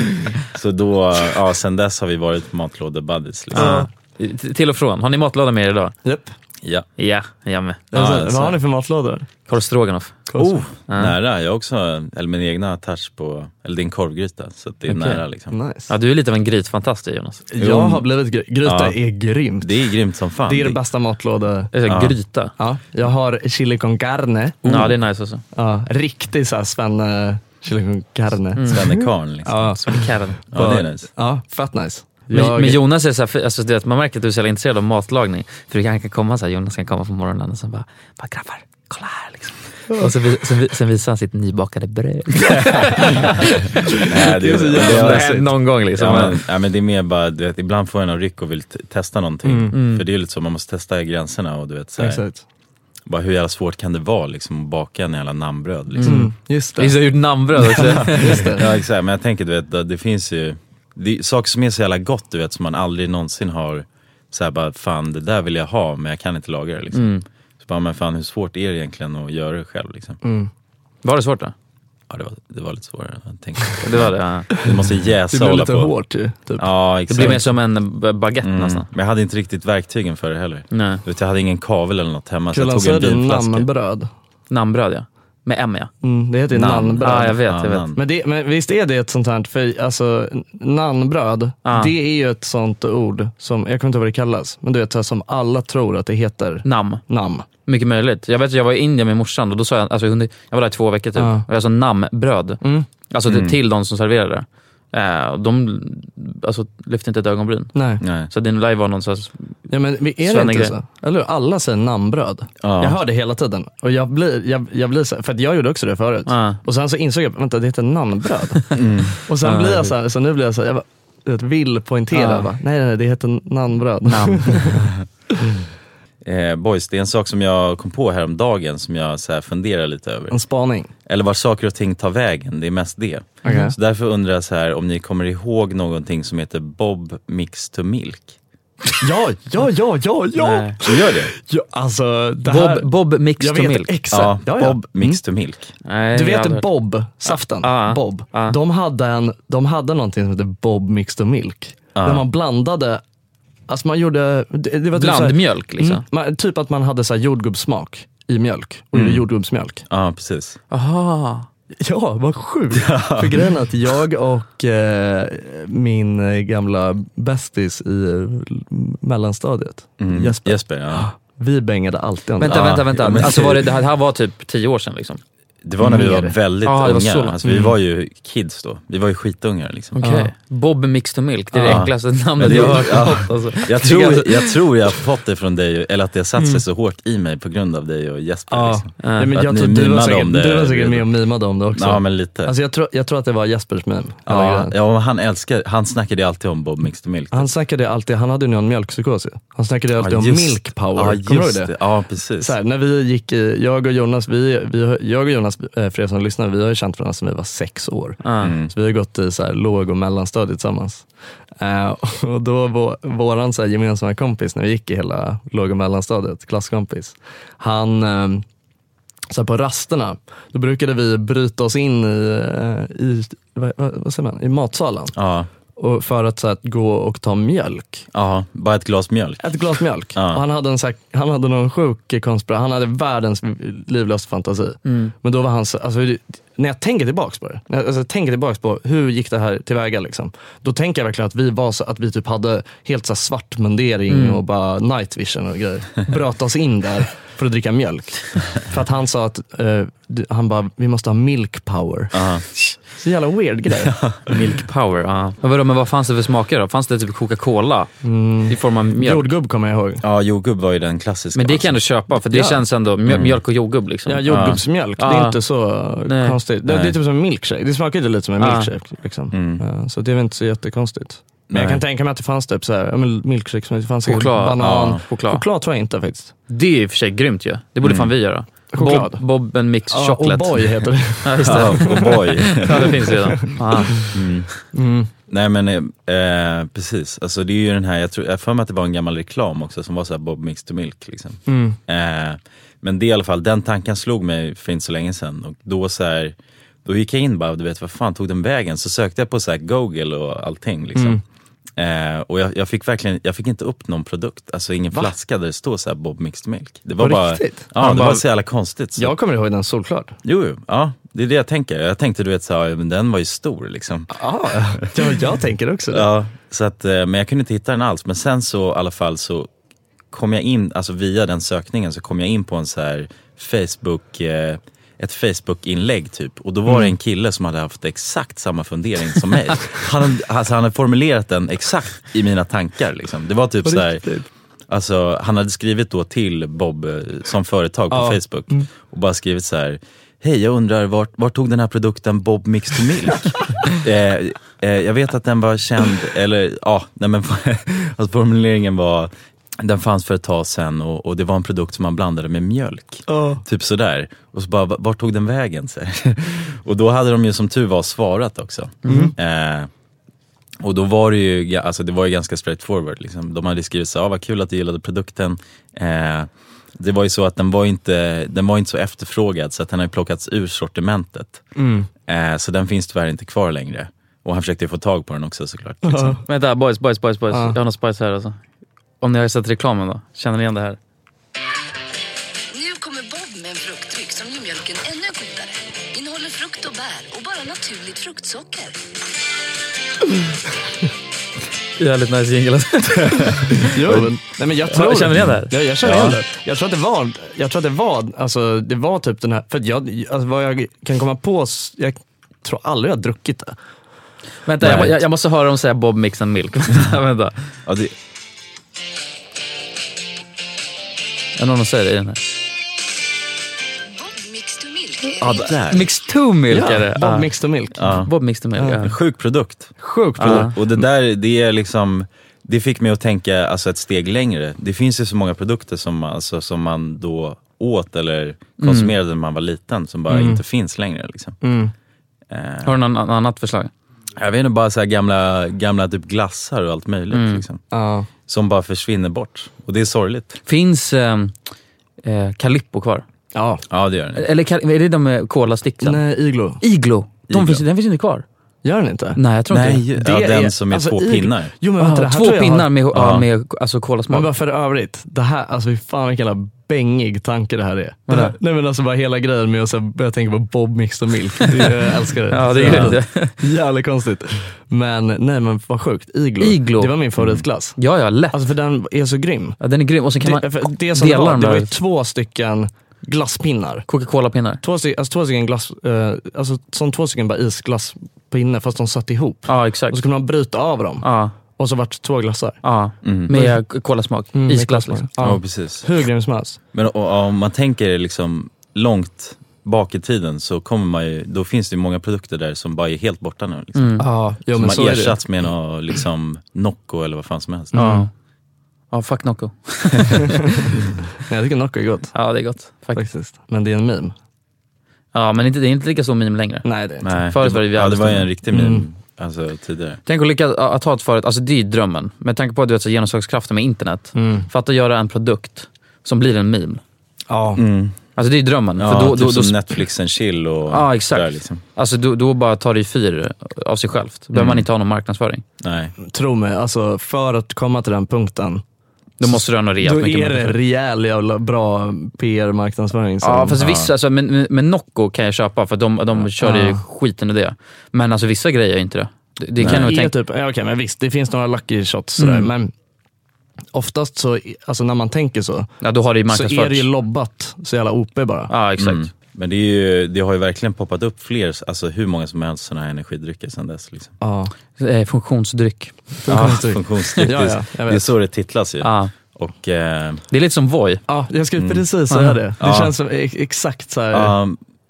så då, ja sen dess har vi varit matlådebuddies. Liksom. Ja. T- Till och från. Har ni matlåda med er idag? Japp. Ja. Ja, jag med. Vad har ni för matlådor? Korv stroganoff. Oh, Ja. nära. Jag har också, eller min egna touch på, eller din korvgryta. Så att det är Okej. nära liksom. Nice. Ja, du är lite av en grytfantast du, Jonas. Jag har blivit gry- Gryta är grymt. Det är grymt som fan. Det är den bästa matlåda... Det är så här Gryta? Ja. Jag har chili con carne. Oh! Ja, det är nice alltså. Mm. också. Ja, riktig såhär svenne eh, chili con carne. Mm. Svennekarn liksom. Ja. alltså. Carne. Ja, det är nice. Ja, fett nice. Men, men Jonas är så här, alltså, du vet, man märker att du är så jävla intresserad av matlagning. För du kan, han kan komma så här, Jonas kan komma på morgonen och sen bara, bara grabbar, kolla här liksom. Och så, vi- sen, vi- sen visar han sitt nybakade bröd. Nej, Det är så det jävla har hänt någon gång liksom. Ja, men, ja, men det är mer bara, du vet, ibland får jag någon ryck och vill t- testa någonting. Mm. Mm. För det är ju lite så, man måste testa gränserna och du vet så här, Exakt. bara hur jävla svårt kan det vara liksom, att baka en jävla namnbröd liksom. Mm. Just det. Just det, jag har gjort namnbröd också. Ja exakt, men jag tänker du vet, det finns ju det, saker som är så jävla gott du vet som man aldrig någonsin har så här bara fan det där vill jag ha men jag kan inte laga det liksom. Mm. Så bara men fan hur svårt är det egentligen att göra det själv liksom? Mm. Var det svårt då? Ja det var, det var lite svårare än jag tänkte. Det var det, ja. Du måste jäsa Det blir och hålla lite på. hårt ju, typ. Ja Det exakt. Mm. blir mer som en b- baguette nästan. Men jag hade inte riktigt verktygen för det heller. Nej. Du vet, jag hade ingen kavel eller något hemma så Kulan, jag tog en alltså, säger du vinflaska. namnbröd? Namnbröd ja. Med M ja. Mm, det heter ju Nan. nannbröd. Ja, jag vet, jag vet. Men, det, men visst är det ett sånt här, för alltså nannbröd, Ja. det är ju ett sånt ord som, jag kommer inte ihåg vad det kallas, men du vet så här, som alla tror att det heter. Nam. Nam. Mycket möjligt. Jag vet att jag var i Indien med morsan och då sa jag, alltså, under, jag var där i två veckor typ, Ja. och jag sa namnbröd. Mm. Alltså Mm. till de som serverade. Eh, och de alltså, lyfte inte ett ögonbryn. Nej. Så det lär ju vara någon sorts... Ja men är det inte Svennegrej. så? Eller hur? Alla säger namnbröd. Ja. Jag hör det hela tiden. Och jag blir, jag, jag blir så här, för att jag gjorde också det förut. Och sen så insåg jag, vänta det heter namnbröd. Mm. Och sen Ja, blir jag det- så här, så nu blir jag så här, jag bara, du vet, vill poängtera. Ja. Bara, nej, nej, nej, det heter namnbröd. Namn. Eh, boys, det är en sak som jag kom på häromdagen som jag så här funderar lite över. En spaning. Eller var saker och ting tar vägen, det är mest det. Okej. Så därför undrar jag så här om ni kommer ihåg någonting som heter Bob Mix to Milk? Ja, ja, ja, ja, ja! Nej. Du gör det? Ja, alltså, det Bob- här... Bob Mix jag to vet Milk. Exakt. Ja, Ja, ja. Mm. Bob Mix to Milk. Du vet att Bob, saften, Ah, Bob, de, hade en, de hade någonting som hette Bob Mixed Milk. Ah. Där man blandade, alltså man gjorde... Det, det var typ så här- Blandmjölk, liksom? Mm, man, typ att man hade så här jordgubbssmak i mjölk och gjorde jordgubbsmjölk. Ja, precis. Mm. Aha. Ja, vad sjukt. För grejen är att jag och eh, min eh, gamla bästis i eh, mellanstadiet, Mm. Jesper, Jesper ja. vi bängade alltid om det. Vänta, Ja. vänta, vänta. Ja, men- Alltså var det, det här var typ tio år sedan liksom? Det var när vi var Mer. väldigt Ja, det var så unga. långt. Alltså, vi Mm. var ju kids då. Vi var ju skitungar. Liksom. Okej. Bob Mixed to Milk, det är det Ja. äckligaste Men namnet det jag har var- hört. ja. Alltså. Mm. Jag tror jag tror jag har fått det från dig, eller att det har satt sig så hårt i mig på grund av dig och Jesper. Ja. liksom. Ja, men Att jag ni tror du var mimade säkert- om det. du var säkert med och mimade om det också. Ja, men lite. Alltså jag, tror, jag tror att det var Jespers meme. hela ja, grejen. ja, men han älskar, han snackade ju alltid om Bob Mixed Milk. Han snackade alltid, han hade ju någon mjölkpsykos ju. Han snackade ju alltid Ja, om just- milk power, ja, kommer du ihåg just det? det. Ja, precis. Så här, när vi gick, i- jag och Jonas, vi, vi, har- jag och Jonas, eh, för er som lyssnar, vi har ju känt varandra sedan vi var sex år. Mm. Så vi har gått i så här, låg och mellanstadiet tillsammans. Eh, och då vår, våran så här, gemensamma kompis, när vi gick i hela låg och mellanstadiet, klasskompis, han eh, så här, på rasterna, då brukade vi bryta oss in i, eh, i, vad, vad, vad säger man, i matsalen. Och för att så här, gå och ta mjölk. Ja, bara ett glas mjölk. Ett glas mjölk. Ja. Och han, hade en, så här, han hade någon sjuk konspiration. Han hade världens livlösa fantasi. Mm. Men då var han så, alltså, det- när jag tänker tillbaks på det, när jag, alltså, jag tänker tillbaks på hur gick det här tillväga liksom. Då tänker jag verkligen att vi var så, att vi typ hade helt så här svart mundering Mm. och bara night vision och grejer. Bröt oss in där för att dricka mjölk. för att han sa att, eh, du- han bara, vi måste ha milk power. Så jävla weird grej. Milk power, ja. Men vadå, men vad fanns det för smaker då? Fanns det typ Coca-Cola Mm. i form av mjölk? Jordgubb kommer jag ihåg. Ja, jordgubb var ju den klassiska. Men det kan jag ändå köpa, för det Ja. känns ändå, mjö- Mm. mjölk och jordgubb liksom. Ja, jordgubbsmjölk. Det är Ja. inte så Nej. konstigt. Det, det är Nej. Ah. typ som en milkshake. Det smakar ju lite som en Ja. milkshake. Liksom. Ja, Så det är väl inte så jättekonstigt. Men jag Nej. kan tänka mig att det fanns typ så här, ja, men milkshake, som det fanns säkert Choklad, banan. ja, choklad. tror jag inte faktiskt. Det är i och för sig grymt ju. Det borde Mm. fan vi göra. Choklad. Bob, Bobben Mix Ja, Chocolate. O'boy heter det. ja, just Ja, det. O'boy. ja, det finns redan. Ah. Ja. Mm. Mm. Nej men eh, eh, precis, alltså det är ju den här, jag tror- jag har för mig att det var en gammal reklam också som var så här Bob Mix to Milk. Liksom. Mm. Eh, men det i alla fall, den tanken slog mig för inte så länge sedan och då så här, då gick jag in bara, du vet vad fan tog den vägen? Så sökte jag på så här Google och allting. Mm. Liksom. Eh, och jag, jag fick verkligen, jag fick inte upp någon produkt, alltså ingen Va? flaska där det står så här Bob Mixed Milk. Det På var bara, riktigt? Ja, Han det bara- var så jävla konstigt. Så. Jag kommer ihåg den solklart. Jo, jo, ja, det är det jag tänker. Jag tänkte du vet, så här, ja, men den var ju stor liksom. Ja, jag tänker också det. Ja, så att, eh, men jag kunde inte hitta den alls. Men sen så i alla fall så kom jag in, alltså via den sökningen så kom jag in på en så här Facebook, eh, ett Facebook-inlägg typ. Och då var det Mm. en kille som hade haft exakt samma fundering som mig. Han, hade- alltså, han hade formulerat den exakt i mina tankar liksom. Det var typ På så här, riktigt? alltså han hade skrivit då till Bob eh, som företag på Ja. Facebook och bara skrivit så här, hej jag undrar vart, vart tog den här produkten Bob Mixed Milk? eh, eh, jag vet att den var känd, eller ja, nej men alltså, formuleringen var den fanns för ett tag sedan och, och det var en produkt som man blandade med mjölk. Typ sådär. Och så bara, "Va- vart tog den vägen? Så här. och då hade de ju som tur var svarat också. Eh, och då var det ju, ga- alltså det var ju ganska straightforward. Liksom. De hade skrivit så här, ah, vad kul att du gillade produkten. Eh, det var ju så att den var inte, den var inte så efterfrågad så att den har ju plockats ur sortimentet. Mm. Eh, så den finns tyvärr inte kvar längre. Och han försökte ju få tag på den också såklart. Liksom. Vänta, boys, boys, boys, boys. Ja. Jag har något spice här alltså. Om ni har sett reklamen då? Känner ni igen det här? Nu kommer Bob med en fruktdryck som gör mjölken ännu godare. Innehåller frukt och bär och bara naturligt fruktsocker. Jävligt nice jingle. Jo, men, nej, men jag tror... Känner ni igen det här? Ja, jag känner Ja. igen det. Jag tror att det var, jag tror att det var, alltså, det var typ den här, för att jag, alltså, vad jag kan komma på, s- jag tror aldrig jag har druckit det. Vänta, Nej. jag, jag, jag måste höra dem säga Bob Mix and Milk. Vänta. Ja, det... Är någon som säger det i den här? Ja, där. Mix to Milk är det. Bob Ja. Mixed Milk. Ja. Bob Mixed Milk, ja. En sjuk produkt. Sjuk Och det där, det är liksom det fick mig att tänka alltså, ett steg längre. Det finns ju så många produkter som, man- alltså, som man då åt eller konsumerade när man var liten som bara Mm. inte finns längre. Liksom. Eh. Mm. Har du något annat förslag? Jag vet inte, bara så här gamla, gamla typ glassar och allt möjligt. Mm. Liksom, Som bara försvinner bort. Och det är sorgligt. Finns ehm, eh, Calippo kvar? Ja, ja det gör det. Eller Cal- är det de med kolasticksen? Nej, Iglo. Iglo. De Iglo. Finns, den finns inte kvar. Gör den inte? Nej, jag tror Nej, inte ja, Det den är- som är alltså, två Iglo- pinnar. Jo, men Ah, vänta, det här två tror jag pinnar har- med, ja. Ja. med alltså, kolasmak. Men bara för övrigt, det här, alltså fy fan vilken jävla bängig tanke det här är. Det Vadå? här, nej men alltså bara hela grejen med att så här börja tänka på Bob Mix och Milk. Det, är- jag älskar det. Ja, det är Så, det. Jävligt konstigt. Men nej men vad sjukt, Iglo. Iglo. Det var min favoritglass. Ja, ja, lätt. Alltså för den är så grym. Ja, den är grym och sen kan det, för man det som dela var, dem det var ju där. två stycken glasspinnar. Coca-Cola-pinnar. Två, stycken- alltså två stycken glass, eh, alltså som två stycken bara isglasspinnar fast de satt ihop. Ja, exakt. Och så kunde man bryta av dem. Och så vart det två glassar. Ja, med kolasmak. Mm, med Isglass kolasmak. liksom. Mm. Ja, precis. Hur grym som helst. Men och, och, om man tänker liksom långt bak i tiden så kommer man ju, då finns det ju många produkter där som bara är helt borta nu. Liksom. Mm. Ja, jo, som men har så är det. ersatts med något, liksom, Nocco eller vad fan som helst. Mm. Mm. Ja. Ja, fuck Nocco. Nej, jag tycker Nocco är gott. Ja, det är gott. Faktiskt. Men det är en meme. Ja, men inte, det är inte lika stor meme längre. Nej, det är inte. Nej, Förut det var det, Mm. var- vi ja, hade det var ju stor en riktig meme. Alltså tidigare. Tänk att lyckas att ha ett företag, alltså det är ju drömmen. Med tanke på att du vet, så genomslagskraften med internet. Mm. För att göra en produkt som blir en meme. Ja. Alltså det är ju drömmen. Mm. Ja, för då, typ då, då, som Netflix and chill och Ja, exakt. där liksom. Alltså då, då bara tar det ju fyr av sig självt. Behöver Mm. man inte ha någon marknadsföring. Nej. Tro mig, alltså för att komma till den punkten. Då måste du ha något rejält Då mycket är det marknadsföring. rejäl jävla bra PR-marknadsföring. som- Ja, fast vissa, alltså, men, men- men Nocco kan jag köpa för de, de kör ju Ja. skiten i det. Men alltså vissa grejer är inte det. Det, det kan jag nog är tänka. Typ, ja, okej, men visst, det finns några lucky shots sådär, Mm. men oftast så, alltså när man tänker så, Ja, då har det ju så marknadsförts. är det ju lobbat så jävla OP bara. Ja, exakt. Mm. Men det, är ju, det har ju verkligen poppat upp fler, alltså hur många som helst sådana här energidrycker sedan dess. Liksom. Ja. Eh, Funktionsdryck. Ja, funktionsdryck. Ja, ja, jag det, är- vet. det är så det titlas ju. Ja. Och, eh, Mm. Det är lite som Voi. Ja, jag skulle Mm. precis säga det. Det känns som ex- exakt så här, Ja,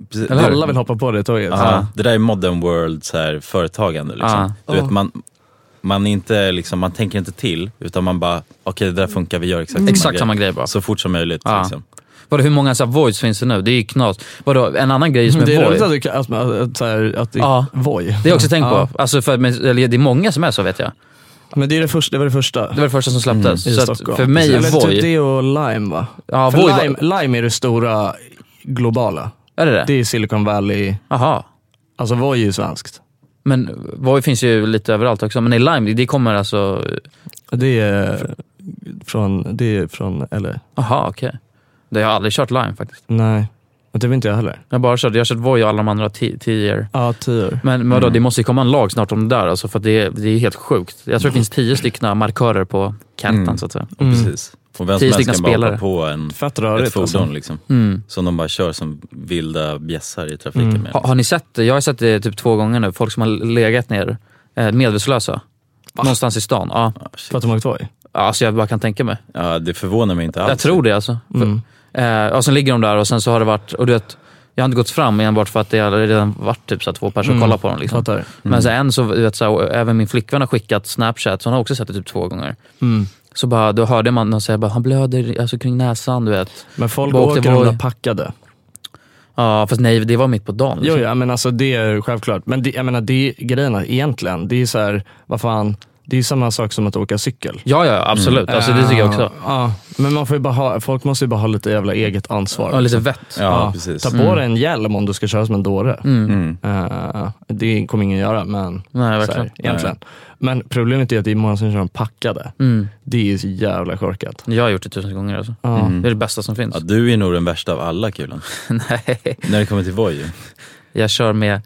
precis. alla vill hoppa på det tåget. Ja, det där är modern world så här, företagande. Liksom. Ja. Du Ja. vet, man, man, är inte, liksom, man tänker inte till, utan man bara, okej det där funkar, vi gör exakt Mm. samma Exakt grej. samma grej bara. Så fort som möjligt. Ja. Liksom. Vadå, hur många så här, voids finns det nu? Det är ju knas. Vadå, en annan grej som är, det är Voi. roligt att, du, kan- att, man- att, så här, att det är Ja. Voi. Det har jag också tänkt Ja. på. Alltså för, men- eller, det är många som är så vet jag. Men det, är det, första, det var det första. Det var det första som släpptes. Mm. I Mm. Så att Stockholm. för mig är Eller Voi- Typ det och Lime va? Ja, för Voi var- Lime, Lime är det stora globala. Är det det? Det är Silicon Valley. Aha. Alltså Voi är ju svenskt. Men Voi finns ju lite överallt också. Men i Lime, det kommer alltså... Det är från, det är från LA. Aha, okej. Det har jag aldrig kört Lime faktiskt. Nej, och det vill inte jag heller. Jag har bara kört, jag har kört Voi och alla de andra ti- tio år. Ja, tio år. Men vadå, Mm. det måste ju komma en lag snart om det där alltså, för att det, är- det är helt sjukt. Jag tror det finns tio stycken markörer på kartan så att säga. Mm. Precis. Och vem som tio helst stycken kan bara hoppa spelare. på en, Fett rörigt, ett fordon alltså. liksom, Mm. som de bara kör som vilda bjässar i trafiken Mm. med. liksom. Ha, har ni sett det? Jag har sett det typ två gånger nu. Folk som har legat ner eh, medvetslösa. Någonstans i stan. Ja. För att de har åkt Voi? Ja, alltså jag bara kan tänka mig. Ah, Ja, det förvånar mig inte alls. Jag tror det alltså. Mm. För, eh, och sen ligger de där och sen så har det varit, och du vet, jag har inte gått fram enbart för att det har redan varit typ så här två personer Mm, och kollat på dem. Liksom. fattar. Mm. Men så en så, du vet, så här, även min flickvän har skickat Snapchat, så hon har också sett det typ två gånger. Mm. Så bara, då hörde man någon säga bara, han blöder alltså, kring näsan, du vet. Men folk Bara åkte åker de Voi. där packade. Ja, fast nej, det var mitt på dagen. liksom. Jo, ja, men alltså det är ju självklart. Men det, jag menar, det är grejerna egentligen. Det är ju så här, vad fan, det är ju samma sak som att åka cykel. Ja, ja, absolut. Alltså, det tycker jag också. Mm. Ja, men man får ju bara ha, folk måste ju bara ha lite jävla e- eget ansvar. Ja, lite liksom. vett. Ja, precis. Ta på Mm. dig en hjälm om du ska köra som en dåre. Mm. Eh, det kommer ingen göra, men så verkligen. Här, egentligen. Men problemet är att det är många som kör dem packade. Mm. Det är ju så jävla korkat. Jag har gjort det tusen gånger alltså. Ja. Det är det bästa som finns. Ja, du är nog den värsta av alla kulan. Nej. När det kommer till Voi. Jag kör med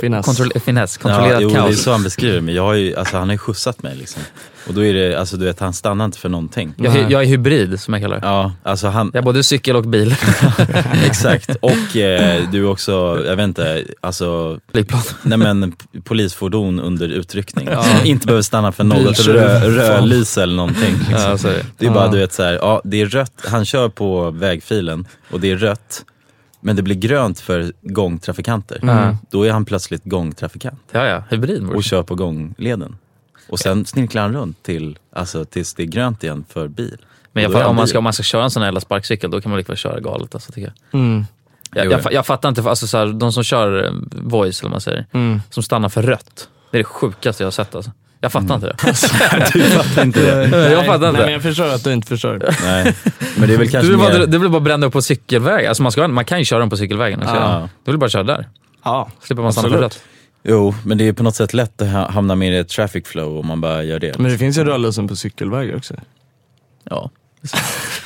finess, kontroll- eh, finess kontrollerat jo, kaos. Det är så han beskriver mig. Jag har ju, alltså, han har ju skjutsat mig. Liksom. Och då är det, alltså, du vet, han stannar inte för någonting. Jag, hy- jag är hybrid som jag kallar det. Ja, alltså han... Jag har både cykel och bil. Exakt. Och eh, du är också, jag vet inte, alltså... Flygplan. Nej men, p- polisfordon under utryckning. Ja. Som inte behöver stanna för något Biltjuv. rö- rödlys eller någonting. Liksom. Ja, så är det. det är bara, Ja. du vet, så här, ja, det är rött, han kör på vägfilen och det är rött. Men det blir grönt för gångtrafikanter. Mm. Då är han plötsligt gångtrafikant. Ja, ja. Hybrid. Och kör på gångleden. Och sen snirklar han runt till, alltså, tills det är grönt igen för bil. Men jag Och då är fattar, han om, man bil. ska, om man ska köra en sån här jävla sparkcykel, då kan man lika väl köra galet alltså, tycker jag. Mm. Jag, Jo, jag, ja. fa- jag fattar inte, alltså, så här, de som kör eh, voice, eller vad man säger, Mm. som stannar för rött. Det är det sjukaste jag har sett alltså. Jag Mm. fattar inte det. Du fattar inte det. jag fattar Nej, inte. men jag förstår att du inte förstår. Nej, men det är väl kanske du, vill bara, mer- du vill bara bränna upp på cykelväg. Alltså man, ska, man kan ju köra den på cykelvägen. Alltså. Ja. Du vill bara köra där. Ja, Slipper man stanna för absolut. rött. Jo, men det är på något sätt lätt att ha- hamna med i ett traffic flow om man bara gör det. Men det finns ju rödlusen på cykelvägar också. Ja.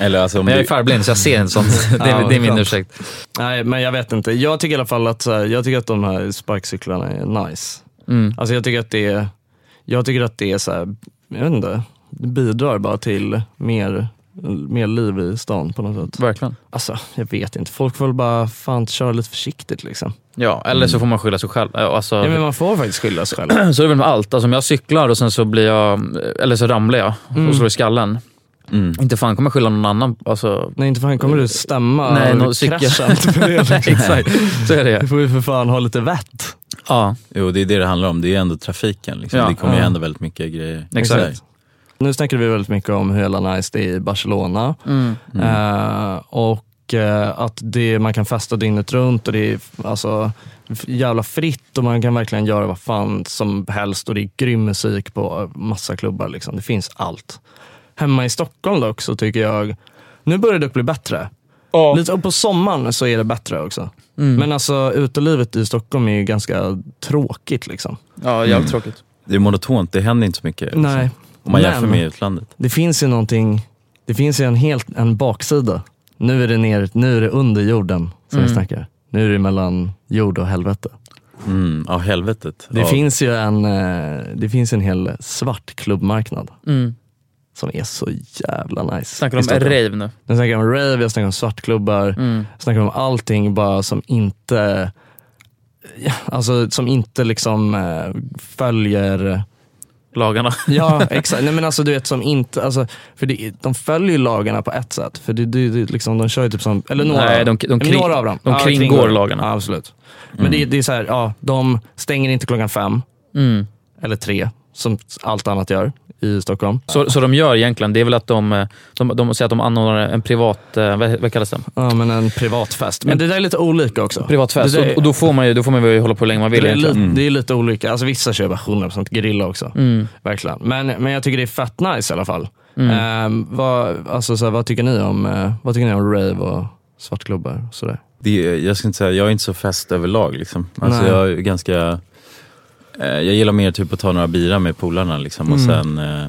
Eller alltså om Men jag du... är farblind så jag ser inte sånt. Det är- det är min ursäkt. Nej, men jag vet inte. Jag tycker i alla fall att, så här, jag tycker att de här sparkcyklarna är nice. Mm. Alltså jag tycker att det är, jag tycker att det är så här, jag vet inte, det bidrar bara till mer, mer liv i stan på något sätt. Verkligen. Alltså jag vet inte, folk får väl bara fan köra lite försiktigt liksom. Ja, eller så får man skylla sig själv. Eh, Alltså, Ja, men man får faktiskt skylla sig själv. så är det väl med allt. Alltså, om jag cyklar och sen så blir jag, eller så ramlar jag Mm. och slår i skallen. Inte fan kommer jag skylla någon annan. Alltså, Nej inte fan kommer du stämma Nej, nå- kraschen. Nej, exakt. Så är det. Du får ju för fan ha lite vett. Ja. Jo, det är det det handlar om. Det är ju ändå trafiken. Liksom. Ja. det kommer Ja. ju hända väldigt mycket grejer. Exakt. Nu snackade vi väldigt mycket om hur jävla nice det är i Barcelona. Mm. Eh, och eh, att det, man kan festa dygnet runt och det är alltså, f- jävla fritt och man kan verkligen göra vad fan som helst och det är grym musik på massa klubbar. Liksom. Det finns allt. Hemma i Stockholm dock så tycker jag, nu börjar det dock bli bättre. Lite, och på sommaren så är det bättre också. Mm. Men alltså utelivet i Stockholm är ju ganska tråkigt. liksom. Ja, jävligt tråkigt. Mm. Det är monotont, det händer inte så mycket. Liksom. Nej. Om man Men- jämför med utlandet. Det finns ju någonting, det finns ju en helt en baksida. Nu är det ner, nu är det under jorden som vi Mm. snackar. Nu är det mellan jord och helvete. Mm, ja, helvetet. Det ja. finns ju en, eh, det finns en hel svart klubbmarknad Mm. som är så jävla nice. Snackar i om Stockholm. rave nu. Jag snackar om rave, jag snackar om svartklubbar, Mm. jag snackar om allting bara som inte, ja, alltså som inte liksom eh, följer Lagarna. Ja, exakt. Nej men alltså du vet som inte, alltså, för det, de följer ju lagarna på ett sätt. För det, det, det, liksom, de kör ju typ som, eller några, Nej, de- de Ja, men kring- några av dem. de Ja, kringgår lagarna. Ja, absolut. Men det, det är så här, ja, de stänger inte klockan fem, Mm. eller tre, som allt annat gör i Stockholm. Så, så de gör egentligen, det är väl att de, eh, de, de säger att de anordnar en privat, eh, vad, vad kallas det? Ja, men en privatfest. Men det där är lite olika också. Privatfest. Det där är- och, och då får man ju, då får man ju hålla på hur länge man vill det, är egentligen. Mm. lite, det är lite olika. Alltså, vissa kör bara 100% grilla också. Mm. Verkligen. Men, men jag tycker det är fett nice i alla fall. Mm. Ehm, vad, alltså, så här, vad, tycker ni om, eh, vad tycker ni om rave och svartklubbar? Och sådär? Det, är- jag ska inte säga, jag är inte så fest överlag. Liksom. Alltså, Nej. jag är ganska... eh, Jag gillar mer typ att ta några bira med polarna liksom, och Mm. sen... eh,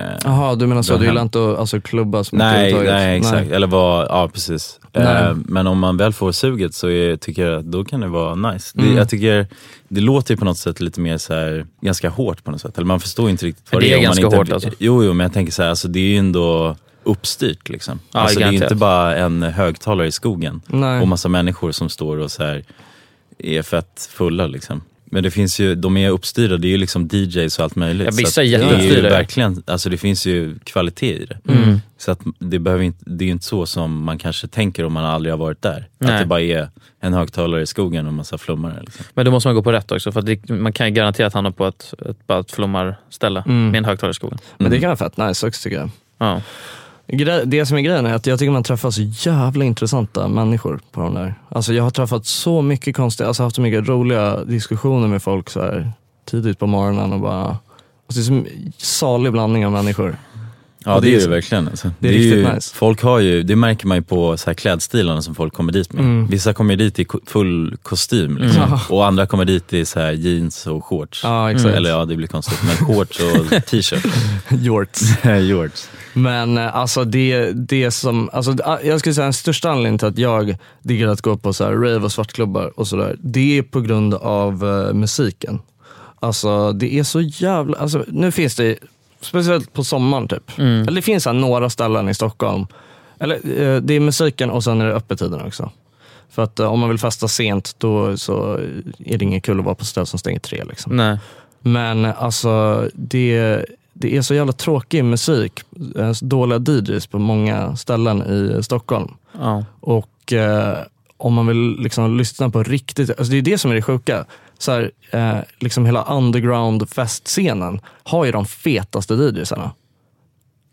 eh, Jaha, du menar så. dra Du hem. gillar inte att alltså, klubba så mycket Nej, överhuvudtaget? nej exakt. Eller vad, ja precis. Nej. Eh, men om man väl får suget så är, tycker jag att då kan det vara nice. Mm. Det, jag tycker det låter ju på något sätt lite mer så här, ganska hårt på något sätt. Eller man förstår inte riktigt vad Det det, är om man ganska inte, hårt, alltså. Jo, jo, men jag tänker så här, alltså, det är ju ändå uppstyrt liksom. Ja, alltså, det är ju garanterat. inte bara en högtalare i skogen Nej. och massa människor som står och så här är fett fulla liksom. Men det finns ju, de är uppstyrda, det är ju liksom DJs och allt möjligt. Ja, vissa Så att är Det är ju jätteuppstyrda. verkligen, alltså det finns ju kvalitet i det. Mm. Så att det, behöver inte, det är ju inte så som man kanske tänker om man aldrig har varit där. Nej. Att det bara är en högtalare i skogen och massa flummare. Liksom. Men då måste man gå på rätt också, för att det, man kan ju garantera att hamna på ett, ett, bara ett flummarställe Mm. med en högtalare i skogen. Men det kan vara fett nice också tycker jag. Ja. Gre- Det som är grejen är att jag tycker man träffar så jävla intressanta människor på de där. Alltså jag har träffat så mycket konstiga, alltså haft så mycket roliga diskussioner med folk så här tidigt på morgonen och bara, alltså det är som en salig blandning av människor. Ja Och det är det så- verkligen. Alltså. Det är riktigt ju, nice. Folk har ju, det märker man ju på så här klädstilarna som folk kommer dit med. Mm. Vissa kommer ju dit i ko- full kostym liksom. Mm. och andra kommer dit i så här jeans och shorts. Ja, exakt. Eller ja, det blir konstigt, men shorts och t-shirt. Jorts. Jorts. Men eh, alltså det, det som, alltså, d- ah, jag skulle säga den största anledningen till att jag diggar att gå på så här rave och svartklubbar och sådär, det är på grund av eh, musiken. Alltså det är så jävla, alltså, nu finns det, speciellt på sommaren typ, Mm. eller det finns så här, några ställen i Stockholm, eller eh, det är musiken och sen är det öppettiderna också. För att eh, om man vill festa sent då så är det inget kul att vara på ställen som stänger tre. Liksom. Nej. Men alltså, det, det är så jävla tråkig musik. eh, Dåliga DJs på många ställen i Stockholm. Ja. Och eh, om man vill liksom lyssna på riktigt, alltså det är det som är det sjuka. så här, eh, liksom hela underground festscenen har ju de fetaste DJsarna.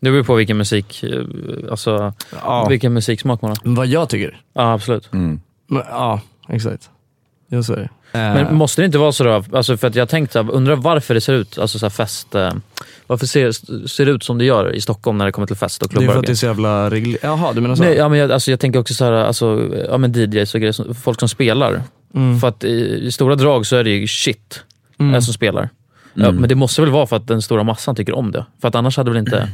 Det beror på vilken musik, eh, alltså vilken musiksmak man har. Vad jag tycker. Ja, absolut. Men, ja, exakt. Jag säger det. Men måste det inte vara så då? Alltså för att jag tänkte, undrar varför det ser ut, alltså så här fest, eh, varför ser, ser det ut som det gör i Stockholm när det kommer till fest och det är klubbar? ju och för att det är grejer? så jävla reglerat. Jaha, du menar så? Nej, ja, men jag, alltså, jag tänker också så här, alltså, ja, men DJs och grejer, som- folk som spelar. Mm. För att i, i stora drag så är det ju shit Mm. eh, som spelar. Ja, Mm. men det måste väl vara för att den stora massan tycker om det? För att annars hade väl inte...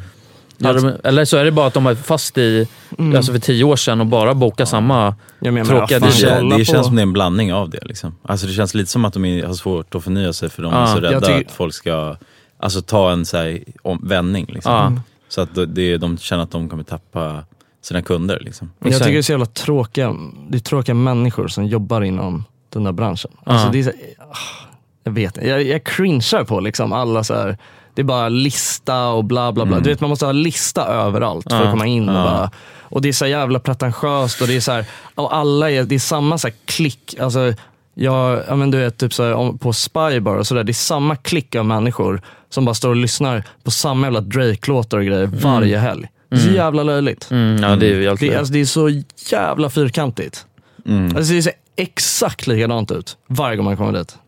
Hade de, eller så är det bara att de är fast i, Mm. alltså för tio år sedan och bara bokar samma tråkiga det, DJ. kän- det känns som det är en blandning av det. Liksom. Alltså, det känns lite som att de är, har svårt att förnya sig för de Ja, är så jag rädda tycker- att folk ska alltså, ta en så här, om, vändning. Liksom. Ja. Mm. Så att det- det, de känner att de kommer tappa sina kunder. Liksom. Men Jag tycker det är så jävla tråkiga, det är tråkiga människor som jobbar inom den där branschen. Alltså Ja. det är så, ah, jag vet inte, jag, jag cringear på liksom alla så här. det är bara lista och bla bla bla. Mm. Du vet man måste ha lista överallt för att Ja. komma in. Och, Ja. bara, och det är så jävla pretentiöst och det är så här, och alla är, det är samma så här klick. Alltså, jag, ja, men du vet, typ så här, om, på Spybar och sådär, det är samma klick av människor som bara står och lyssnar på samma jävla Drake-låtar och grejer varje helg. Det är så Mm. jävla löjligt. Mm, ja, det är ju jävligt det, löjligt. alltså, det är så jävla fyrkantigt. Mm. Alltså, det ser exakt likadant ut varje gång man kommer dit.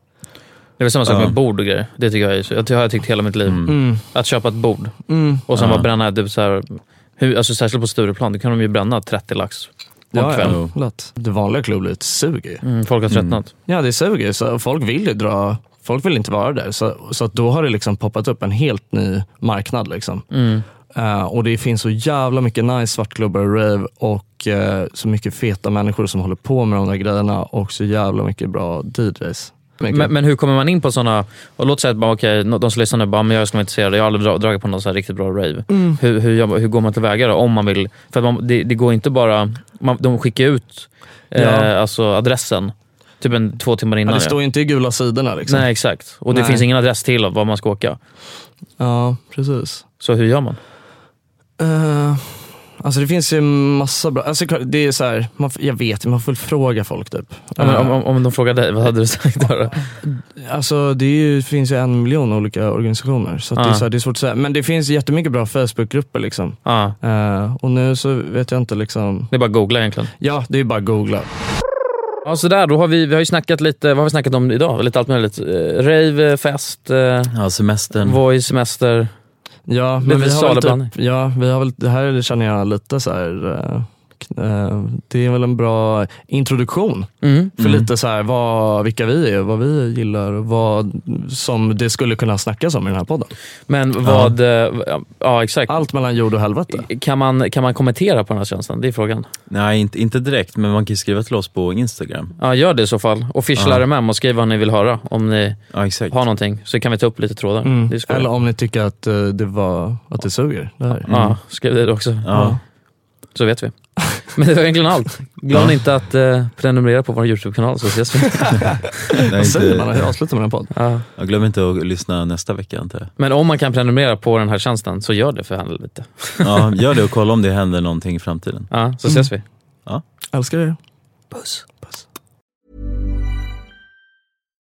Det är väl samma sak Ja. med bord och grejer. Det tycker jag är, så- det har jag tyckt hela mitt liv. Mm. Att köpa ett bord Mm. och sen Ja. bara bränna, typ så här, hur, alltså, särskilt på Stureplan, då kan de ju bränna 30 lax på en Ja, kväll. ja, lätt. Det vanliga klubblivet suger ju. Mm, folk har tröttnat. Ja, det suger ju. Så Folk vill ju dra, folk vill inte vara där. Så, så att då har det liksom poppat upp en helt ny marknad. Liksom. Mm. Eh, och det finns så jävla mycket nice svartklubbar och rave och eh, så mycket feta människor som håller på med de där grejerna och så jävla mycket bra DJs. Men, men hur kommer man in på sådana, och låt säga att bara, okay, de som lyssnar nu bara, men jag ska vara intresserad, jag har aldrig dra- dragit på någon så här riktigt bra rave. Mm. Hur, hur, jobbar- hur går man tillväga då? Om man vill, för att man, det, det går inte bara, man, de skickar ut eh, Ja. alltså adressen typ en, två timmar ja, innan. det står ju inte i gula sidorna. Liksom. Nej, exakt. Och det Nej. finns ingen adress till av var man ska åka. Ja, precis. Så hur gör man? Eh, alltså det finns ju massa bra, alltså klart, det är så här, man, f- jag vet ju, man får väl fråga folk typ. Ja, men Eh, om, om, om de frågar dig, vad hade du sagt då? Alltså det är ju, finns ju en miljon olika organisationer, så, att det, är Ja. så här, det är svårt att säga. Men det finns jättemycket bra Facebookgrupper. Liksom. Eh, och nu så vet jag inte. Liksom... Det är bara att googla egentligen? Ja, det är bara att googla. Ja, sådär. Då har vi, vi har ju snackat lite, vad har vi snackat om idag? Lite allt möjligt. Eh, Rave, eh, fest, eh, ja, semestern. Voi, semester. Ja, Lite men vi har, väl salublandning. typ, ja, vi har väl, det här känner jag lite så här. eh, k- eh, det är väl en bra introduktion Mm. för Mm. lite så här, vad, vilka vi är, vad vi gillar och vad som det skulle kunna snackas om i den här podden. Men vad... eh, Ja. ja, exakt. Allt mellan jord och helvete. Kan man, kan man kommentera på den här tjänsten? Det är frågan. Nej, inte, inte direkt, men man kan ju skriva till oss på Instagram. Ja, gör det i så fall. Och Ja. fischla RMM och skriv vad ni vill höra om ni exakt. har någonting. Så kan vi ta upp lite trådar. Mm. Det är skoj. Eller om ni tycker att eh, det, var, att det suger. Det här. Ja, skriv det också. Ja. Så vet vi. Men det var egentligen allt. Glöm inte att eh, prenumerera på vår YouTube-kanal så ses vi. Vad säger man? Hur avslutar man en podd? Ja. Jag glöm inte att lyssna nästa vecka antar jag. Men om man kan prenumerera på den här tjänsten så gör det för helvete. Ja, gör det och kolla om det händer någonting i framtiden. Ja, så ses vi. Ja. Älskar er. Puss.